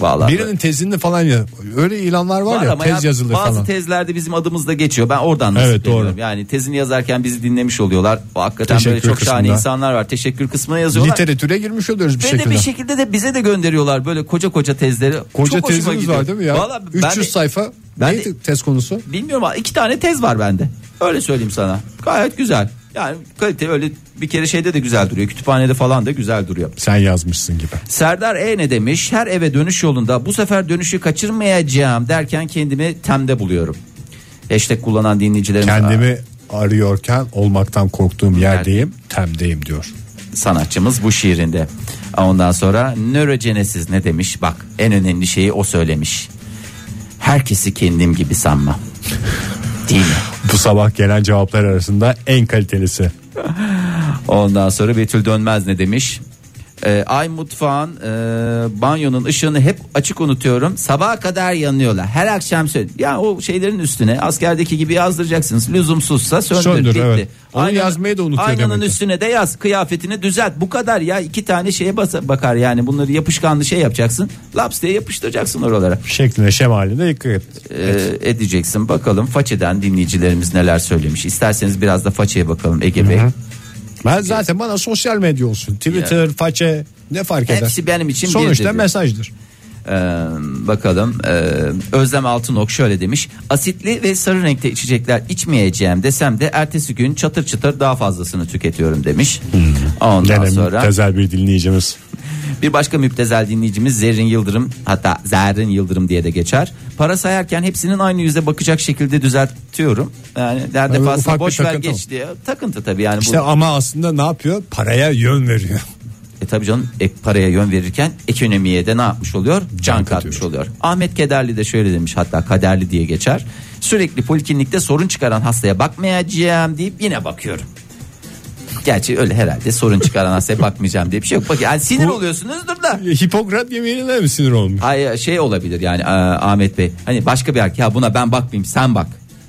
Speaker 2: Vallahi
Speaker 1: Birinin tezini falan ya. Öyle ilanlar var,
Speaker 2: Var
Speaker 1: ya
Speaker 2: ama
Speaker 1: tez
Speaker 2: ya
Speaker 1: yazılır
Speaker 2: bazı
Speaker 1: falan.
Speaker 2: tezlerde bizim adımız da geçiyor. Ben oradan nasip
Speaker 1: Evet, doğru.
Speaker 2: ediyorum. Yani tezini yazarken bizi dinlemiş oluyorlar. O hakikaten böyle
Speaker 1: Teşekkür
Speaker 2: çok şahane
Speaker 1: kısmında.
Speaker 2: insanlar var. Teşekkür kısmına yazıyorlar.
Speaker 1: Literatüre girmiş oluyoruz bir
Speaker 2: Ve
Speaker 1: şekilde.
Speaker 2: de bir şekilde de bize de gönderiyorlar böyle koca koca tezleri.
Speaker 1: Koca
Speaker 2: Çok hoşuma
Speaker 1: tezimiz
Speaker 2: gidiyor.
Speaker 1: var değil mi ya?
Speaker 2: Vallahi ben
Speaker 1: 300
Speaker 2: de-
Speaker 1: sayfa.
Speaker 2: ben
Speaker 1: Neydi
Speaker 2: de-
Speaker 1: tez konusu?
Speaker 2: Bilmiyorum ama iki tane tez var bende. Öyle söyleyeyim sana. Gayet güzel. Yani kalite öyle bir kere şeyde de güzel duruyor. Kütüphanede falan da güzel duruyor.
Speaker 1: Sen yazmışsın gibi.
Speaker 2: Serdar E ne demiş? Her eve dönüş yolunda bu sefer dönüşü kaçırmayacağım derken kendimi temde buluyorum. Hashtag kullanan dinleyicilerim
Speaker 1: Kendimi arıyorken olmaktan korktuğum yerdeyim,
Speaker 2: yerdeyim,
Speaker 1: temdeyim diyor.
Speaker 2: sanatçımız bu şiirinde. Ondan sonra nörojenesiz ne demiş? Bak en önemli şeyi o söylemiş. Herkesi kendim gibi sanma. Değil mi?
Speaker 1: Bu sabah gelen cevaplar arasında en kalitelisi.
Speaker 2: Ondan sonra Betül Dönmez ne demiş? Ee, ay mutfağın e, banyonun ışığını hep açık unutuyorum. Sabaha kadar yanıyorlar. Her akşam söyle. Ya o şeylerin üstüne askerdeki gibi yazdıracaksınız. Lüzumsuzsa söndür.
Speaker 1: Söndür,
Speaker 2: bitti.
Speaker 1: evet. Onu yazmayı da unutuyor
Speaker 2: Aynanın
Speaker 1: demek ki.
Speaker 2: üstüne de yaz. Kıyafetini düzelt. Bu kadar ya. iki tane şeye basa- bakar yani. Bunları yapışkanlı şey yapacaksın. Laps diye yapıştıracaksın oralara.
Speaker 1: Şekline şemaline dikkat et.
Speaker 2: Ee, edeceksin. Bakalım façeden dinleyicilerimiz neler söylemiş. İsterseniz biraz da façeye bakalım Ege Bey.
Speaker 1: Ben zaten bana sosyal medya olsun. Twitter, façe ne fark eder?
Speaker 2: Hepsi benim için bir
Speaker 1: Sonuçta
Speaker 2: dedi.
Speaker 1: mesajdır.
Speaker 2: Ee, bakalım ee, Özlem Altınok şöyle demiş asitli ve sarı renkte içecekler içmeyeceğim desem de ertesi gün çatır çatır daha fazlasını tüketiyorum demiş
Speaker 1: Hmm.
Speaker 2: ondan
Speaker 1: Gene
Speaker 2: sonra
Speaker 1: tezel bir dinleyicimiz.
Speaker 2: bir başka müptezel dinleyicimiz Zerrin Yıldırım hatta Zerrin Yıldırım diye de geçer para sayarken hepsinin aynı yüze bakacak şekilde düzeltiyorum yani her defasında
Speaker 1: ufak bir
Speaker 2: boş ver
Speaker 1: takıntı
Speaker 2: geç diye takıntı tabii yani
Speaker 1: İşte
Speaker 2: bu,
Speaker 1: ama aslında ne yapıyor? Paraya yön veriyor.
Speaker 2: E tabii canım ek paraya yön verirken ekonomiye de ne yapmış oluyor? Can, katmış oluyor. Ahmet Kederli de şöyle demiş hatta kaderli diye geçer. Sürekli poliklinikte sorun çıkaran hastaya bakmayacağım deyip yine bakıyorum. Gerçi öyle herhalde sorun çıkaran hastaya bakmayacağım diye bir şey yok. Bak yani sinir oluyorsunuzdur da.
Speaker 1: Hipokrat yeminine mi sinir olmuş?
Speaker 2: Hayır şey olabilir yani e, Ahmet Bey. Hani başka bir erkek ya buna ben bakmayayım sen bak.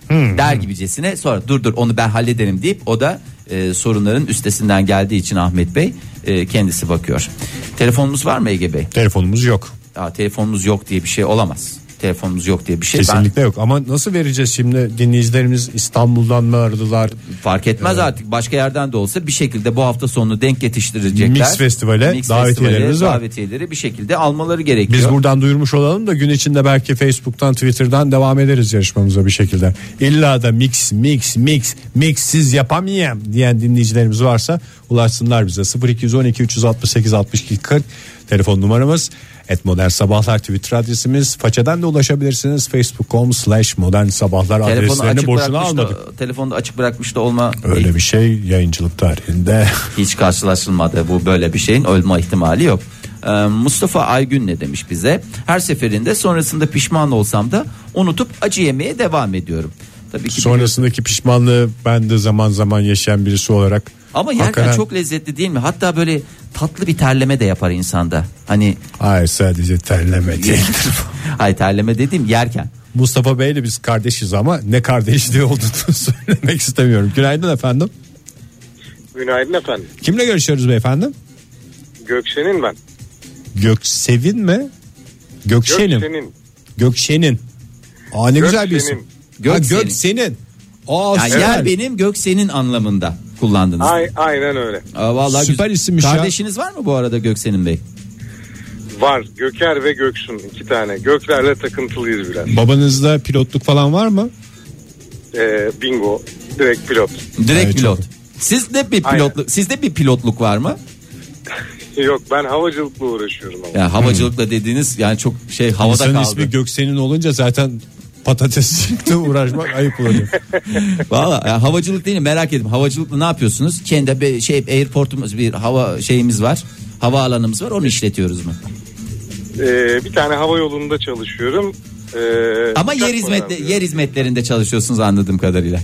Speaker 1: Hmm.
Speaker 2: der gibicesine sonra dur dur onu ben hallederim deyip o da e, sorunların üstesinden geldiği için Ahmet Bey e, kendisi bakıyor. Telefonumuz var mı Ege Bey?
Speaker 1: Telefonumuz yok.
Speaker 2: Aa, telefonumuz yok diye bir şey olamaz. Telefonumuz yok diye bir şey. Ben
Speaker 1: Kesinlikle yok. Ama nasıl vereceğiz şimdi? Dinleyicilerimiz İstanbul'dan mı aradılar?
Speaker 2: fark etmez artık başka yerden de olsa bir şekilde bu hafta sonunu denk yetiştirecekler.
Speaker 1: Mix Festival'e davetiyelerimiz var.
Speaker 2: Davetiyeleri bir şekilde almaları gerekiyor.
Speaker 1: Biz buradan duyurmuş olalım da gün içinde belki Facebook'tan Twitter'dan devam ederiz yarışmamıza bir şekilde. İlla da mix mix mix mixsiz yapamayayım diyen dinleyicilerimiz varsa ulaşsınlar bize 0212 368 62 40 telefon numaramız. Et Modern Sabahlar Twitter adresimiz. Façeden de ulaşabilirsiniz. Facebook.com slash Modern Sabahlar
Speaker 2: Telefonu
Speaker 1: adreslerini
Speaker 2: açık
Speaker 1: boşuna
Speaker 2: bırakmış da,
Speaker 1: almadık.
Speaker 2: telefonu açık bırakmış da olma
Speaker 1: Öyle bir şey yayıncılık tarihinde.
Speaker 2: hiç karşılaşılmadı bu böyle bir şeyin ölme ihtimali yok. Ee, Mustafa Aygün ne demiş bize? Her seferinde sonrasında pişman olsam da unutup acı yemeye devam ediyorum. Tabii ki
Speaker 1: Sonrasındaki pişmanlığı ben de zaman zaman yaşayan birisi olarak.
Speaker 2: ama yerken
Speaker 1: hakikaten-
Speaker 2: çok lezzetli değil mi? Hatta böyle tatlı bir terleme de yapar insanda. Hani
Speaker 1: Hayır sadece terleme değil.
Speaker 2: hay terleme dediğim yerken.
Speaker 1: Mustafa Bey'le biz kardeşiz ama ne kardeşliği olduğunu söylemek istemiyorum. Günaydın efendim.
Speaker 8: Günaydın efendim.
Speaker 1: Kimle görüşüyoruz beyefendi?
Speaker 8: Gökşen'in ben.
Speaker 1: Göksevin mi? Gökşen'in.
Speaker 8: Gökşen'in.
Speaker 1: Gökşen'in. Aa ne güzel bir isim. Ha,
Speaker 2: Gökşen'in.
Speaker 1: Gökşen'in. Aa
Speaker 2: Yani
Speaker 1: süper.
Speaker 2: yer benim gök senin anlamında kullandınız.
Speaker 8: Ay, aynen öyle.
Speaker 2: Aa, vallahi
Speaker 1: Süper
Speaker 2: güzel.
Speaker 1: isimmiş ya.
Speaker 2: Kardeşiniz var mı bu arada Göksen'in Bey?
Speaker 8: Var Göker ve Göksun iki tane. Göklerle takıntılıyız biraz.
Speaker 1: Babanızda pilotluk falan var mı?
Speaker 8: Ee, bingo. Direkt pilot.
Speaker 2: Direkt
Speaker 1: Evet,
Speaker 2: pilot. Sizde bir
Speaker 8: Aynen.
Speaker 2: pilotluk, sizde bir pilotluk var mı?
Speaker 8: Yok ben havacılıkla uğraşıyorum ama.
Speaker 2: Yani havacılıkla dediğiniz yani çok şey havada
Speaker 1: İnsanın
Speaker 2: kaldı.
Speaker 1: ismi Gökşen'in olunca zaten patatesle uğraşmak ayıp oluyor.
Speaker 2: Valla yani havacılık değil mi? merak ettim. Havacılıkla ne yapıyorsunuz? Kendi bir şey airportumuz bir hava şeyimiz var. Hava alanımız var. Onu işletiyoruz mu?
Speaker 8: Ee, bir tane hava yolunda çalışıyorum. Ee,
Speaker 2: Ama
Speaker 8: uçak
Speaker 2: yer hizmetle
Speaker 8: kullanıyorum.
Speaker 2: yer hizmetlerinde çalışıyorsunuz anladığım kadarıyla.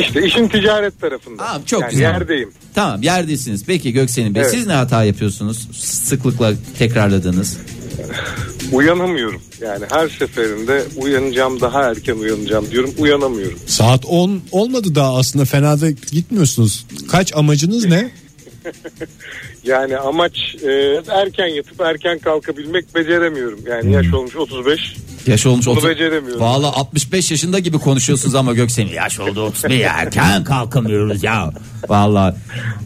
Speaker 8: İşte işin ticaret tarafında.
Speaker 2: Tamam, çok
Speaker 8: yani
Speaker 2: güzel.
Speaker 8: Yerdeyim.
Speaker 2: Tamam yerdesiniz. Peki Göksel'in Bey
Speaker 8: Evet.
Speaker 2: siz ne hata yapıyorsunuz? Sıklıkla tekrarladığınız.
Speaker 8: Uyanamıyorum. Yani her seferinde uyanacağım daha erken uyanacağım diyorum. Uyanamıyorum.
Speaker 1: Saat 10 olmadı daha aslında fena da gitmiyorsunuz. Kaç amacınız ne?
Speaker 8: Yani amaç e, erken yatıp erken kalkabilmek beceremiyorum. Yani
Speaker 2: Hmm.
Speaker 8: yaş olmuş 35.
Speaker 2: Yaş olmuş
Speaker 8: Bunu
Speaker 2: 30.
Speaker 8: beceremiyorum.
Speaker 2: Valla 65 yaşında gibi konuşuyorsunuz ama Göksel'in yaş oldu 31 erken kalkamıyoruz ya. Valla.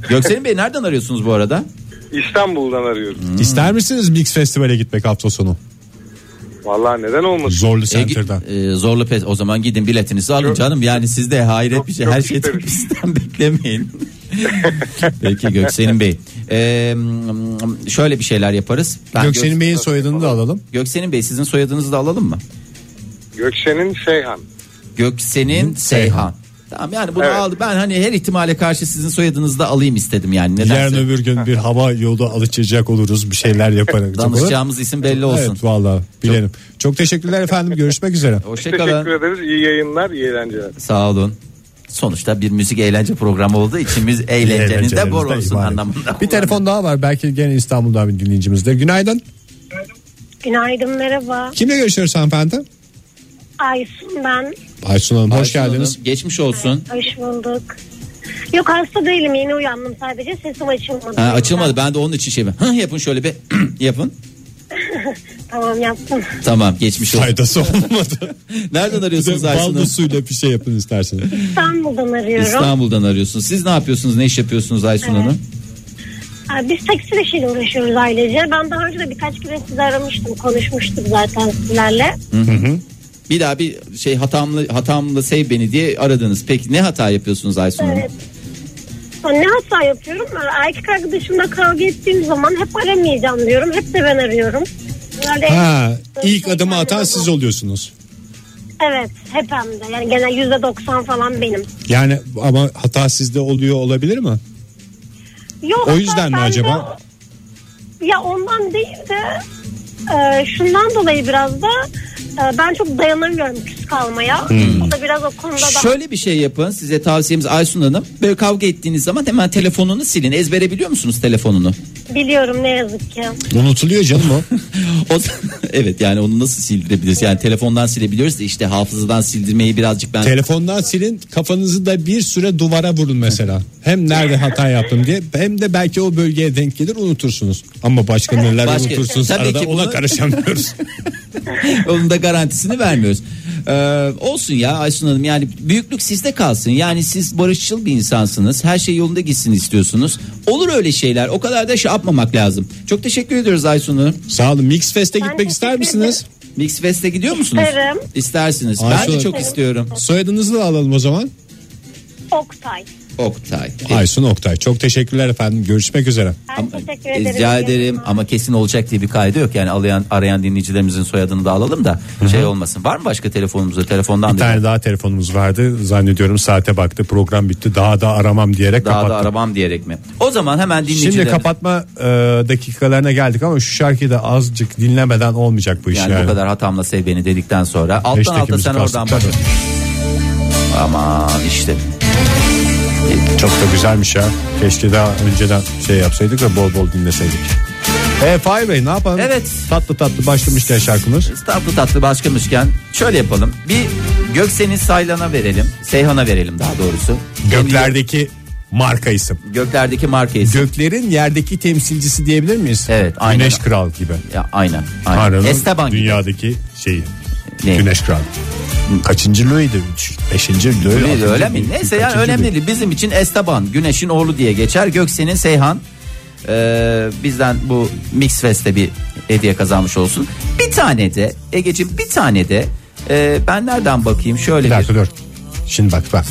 Speaker 2: Göksel'in Bey nereden arıyorsunuz bu arada?
Speaker 8: İstanbul'dan arıyorum.
Speaker 1: Hmm. İster misiniz Mix Festival'e gitmek hafta sonu?
Speaker 8: Vallahi neden olmasın?
Speaker 1: Zorlu
Speaker 2: E, gi-
Speaker 1: Center'dan.
Speaker 2: e, zorlu pes. O zaman gidin biletinizi alın canım. Yani siz de hayret bir şey.
Speaker 8: yok
Speaker 2: Her şeyi
Speaker 8: isteriz.
Speaker 2: bizden beklemeyin. Peki Göksel'in Bey. E, şöyle bir şeyler yaparız. Ben
Speaker 1: Göksel'in
Speaker 2: Gök-
Speaker 1: Bey'in soyadını da alalım.
Speaker 2: Göksel'in Bey sizin soyadınızı da alalım mı?
Speaker 8: Gökşen'in Seyhan.
Speaker 2: Göksen'in Seyhan. Tamam yani bunu
Speaker 8: Evet.
Speaker 2: aldı. Ben hani her ihtimale karşı sizin soyadınızı da alayım istedim yani.
Speaker 1: Yarın
Speaker 2: Nedense
Speaker 1: öbür gün bir hava yolu alışacak oluruz. Bir şeyler yaparız.
Speaker 2: danışacağımız isim belli olsun.
Speaker 1: Evet valla bilelim. Çok teşekkürler efendim. Görüşmek üzere.
Speaker 2: Hoşçakalın.
Speaker 8: Teşekkür ederiz. İyi yayınlar, iyi eğlenceler.
Speaker 2: Sağ olun. Sonuçta bir müzik eğlence programı olduğu için biz eğlencenin de bor olsun
Speaker 1: ibaret.
Speaker 2: anlamında.
Speaker 1: Bir telefon daha var. Belki gene İstanbul'da bir dinleyicimizdir. Günaydın.
Speaker 9: Günaydın merhaba.
Speaker 1: Kimle görüşüyoruz hanımefendi?
Speaker 9: Aysun ben.
Speaker 1: Aysun Hanım hoş
Speaker 2: Aysun
Speaker 1: geldiniz.
Speaker 2: Hanım, Geçmiş olsun.
Speaker 9: Hoş bulduk. Yok hasta değilim yeni uyandım sadece sesim açılmadı.
Speaker 2: Ha, açılmadı ben de onun için şey Hı, yapın şöyle bir yapın.
Speaker 9: Tamam yaptım.
Speaker 2: Tamam geçmiş olsun.
Speaker 1: Faydası olmadı.
Speaker 2: Nereden
Speaker 1: Bize
Speaker 2: arıyorsunuz Aysun
Speaker 1: balda
Speaker 2: Hanım?
Speaker 1: suyla bir şey yapın isterseniz.
Speaker 9: İstanbul'dan arıyorum.
Speaker 2: İstanbul'dan arıyorsunuz. Siz ne yapıyorsunuz? Ne iş yapıyorsunuz Aysun Hanım?
Speaker 9: Ha, Biz tekstil işiyle uğraşıyoruz ailece. Ben daha önce de birkaç kere sizi aramıştım. Konuşmuştuk zaten sizlerle.
Speaker 2: Bir daha bir şey hatamlı hatamlı sev beni diye aradınız. Peki ne hata yapıyorsunuz Aysun Hanım?
Speaker 9: Evet. Ha, Ne hata yapıyorum? Ha, Erkek arkadaşımla kavga ettiğim zaman hep aramayacağım diyorum. Hep de ben arıyorum. Böyle
Speaker 1: Ha, ilk adımı atan siz oluyorsunuz.
Speaker 9: Evet hep hem de. Yani genel yüzde doksan falan benim.
Speaker 1: Yani ama hata sizde oluyor olabilir mi?
Speaker 9: Yok,
Speaker 1: O yüzden mi
Speaker 9: ben de-
Speaker 1: acaba?
Speaker 9: ya ondan değil de e, şundan dolayı biraz da e, ben çok dayanamıyorum küs kalmaya. O da biraz o konuda da
Speaker 2: Şöyle bir şey yapın size tavsiyemiz Aysun Hanım. Böyle kavga ettiğiniz zaman hemen telefonunu silin. Ezbere biliyor musunuz telefonunu?
Speaker 9: biliyorum ne yazık ki.
Speaker 1: Unutuluyor canım o.
Speaker 2: O zaman- evet yani onu nasıl sildirebiliriz? Yani telefondan silebiliyoruz da işte hafızadan sildirmeyi birazcık ben...
Speaker 1: Telefondan silin kafanızı da bir süre duvara vurun mesela. Hem nerede hata yaptım diye hem de belki o bölgeye denk gelir unutursunuz. Ama başka neler
Speaker 2: Başka-
Speaker 1: unutursunuz
Speaker 2: Tabii
Speaker 1: arada
Speaker 2: ki
Speaker 1: ona
Speaker 2: bunu-
Speaker 1: karışamıyoruz.
Speaker 2: Onun da garantisini vermiyoruz. Ee, olsun ya Aysun Hanım yani büyüklük sizde kalsın. Yani siz barışçıl bir insansınız. Her şey yolunda gitsin istiyorsunuz. Olur öyle şeyler. O kadar da şey yapmamak lazım. Çok teşekkür ediyoruz Aysun Hanım.
Speaker 1: Sağ olun Mix Fest'e
Speaker 9: Ben
Speaker 1: gitmek ister
Speaker 9: teşekkür
Speaker 1: misiniz?
Speaker 2: Mix Fest'e gidiyor musunuz?
Speaker 9: İsterim.
Speaker 2: İstersiniz.
Speaker 1: Aysun
Speaker 2: ben de
Speaker 1: Hanım.
Speaker 2: çok istiyorum.
Speaker 1: Soyadınızı da alalım o zaman.
Speaker 9: Oktay.
Speaker 2: Oktay. E,
Speaker 1: Aysun Oktay çok teşekkürler efendim görüşmek üzere.
Speaker 9: Ben
Speaker 2: Ama-
Speaker 9: teşekkür
Speaker 2: e,
Speaker 9: ederim.
Speaker 2: Rica ederim ama kesin olacak diye bir kaydı yok. Yani arayan, arayan dinleyicilerimizin soyadını da alalım da şey olmasın. Var mı başka telefonumuzda? Telefondan
Speaker 1: Bir
Speaker 2: da-
Speaker 1: tane daha telefonumuz vardı zannediyorum saate baktı program bitti daha da aramam diyerek
Speaker 2: daha da
Speaker 1: kapattı.
Speaker 2: arabam diyerek mi? O zaman hemen dinleyicilerimiz.
Speaker 1: Şimdi kapatma e, dakikalarına geldik ama şu şarkıyı da azıcık dinlemeden olmayacak bu iş
Speaker 2: Yani,
Speaker 1: yani.
Speaker 2: bu kadar hatamla sev beni dedikten sonra alttan
Speaker 1: Hashtag'imiz
Speaker 2: alta sen
Speaker 1: kalsın.
Speaker 2: oradan bak.
Speaker 1: Tabii.
Speaker 2: Aman işte.
Speaker 1: Çok da güzelmiş ya. Keşke daha önceden şey yapsaydık da bol bol dinleseydik. E Fahir Bey ne yapalım?
Speaker 2: Evet.
Speaker 1: Tatlı tatlı başlamışken şarkımız.
Speaker 2: Tatlı tatlı başkamışken şöyle yapalım. Bir Göksen'i Saylan'a verelim. Seyhan'a verelim daha doğrusu.
Speaker 1: Göklerdeki marka isim.
Speaker 2: Göklerdeki marka isim.
Speaker 1: Göklerin yerdeki temsilcisi diyebilir miyiz?
Speaker 2: Evet, aynen.
Speaker 1: Güneş Kral gibi.
Speaker 2: Ya, aynen. aynen.
Speaker 1: Tanrı'nın
Speaker 2: Esteban gibi.
Speaker 1: dünyadaki şeyi.
Speaker 2: Ne?
Speaker 1: Güneş Kral. Kaçıncı Louis'di? Üç, Beşinci Louis.
Speaker 2: Öyle,
Speaker 1: altıncı
Speaker 2: öyle mi?
Speaker 1: Louis,
Speaker 2: Neyse yani
Speaker 1: kaçıncı
Speaker 2: önemli
Speaker 1: Louis?
Speaker 2: değil. Bizim için Esteban, Güneş'in oğlu diye geçer. Göksen'in Seyhan. Ee, bizden bu Mix Fest'te bir hediye kazanmış olsun. Bir tane de Ege'cim bir tane de e, ben nereden bakayım şöyle
Speaker 1: Bir
Speaker 2: bir
Speaker 1: dakika dur. Şimdi bak bak.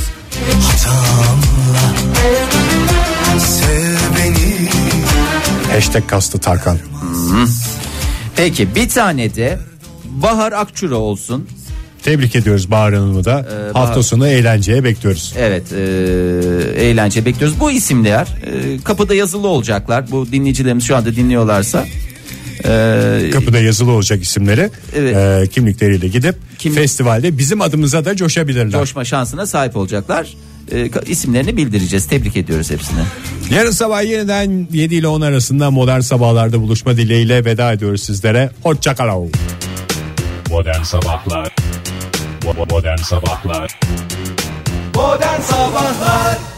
Speaker 10: Sev beni
Speaker 1: Hashtag kastı Tarkan.
Speaker 2: Peki bir tane de Bahar Akçura olsun.
Speaker 1: Tebrik ediyoruz Bahar Hanım'ı da.
Speaker 2: Ee,
Speaker 1: Hafta sonu eğlenceye bekliyoruz.
Speaker 2: Evet e, eğlence bekliyoruz. Bu isimler e, kapıda yazılı olacaklar. Bu dinleyicilerimiz şu anda dinliyorlarsa. E,
Speaker 1: Kapıda yazılı olacak isimleri
Speaker 2: Evet.
Speaker 1: e, kimlikleriyle gidip
Speaker 2: Kim-
Speaker 1: festivalde bizim adımıza da coşabilirler.
Speaker 2: coşma şansına sahip olacaklar. E, ka- isimlerini bildireceğiz. Tebrik ediyoruz hepsini.
Speaker 1: Yarın sabah yeniden 7 ile 10 arasında modern sabahlarda buluşma dileğiyle veda ediyoruz sizlere. Hoşçakalın.
Speaker 10: Modern Sabahlar Modern Sabahlar
Speaker 11: Modern Sabahlar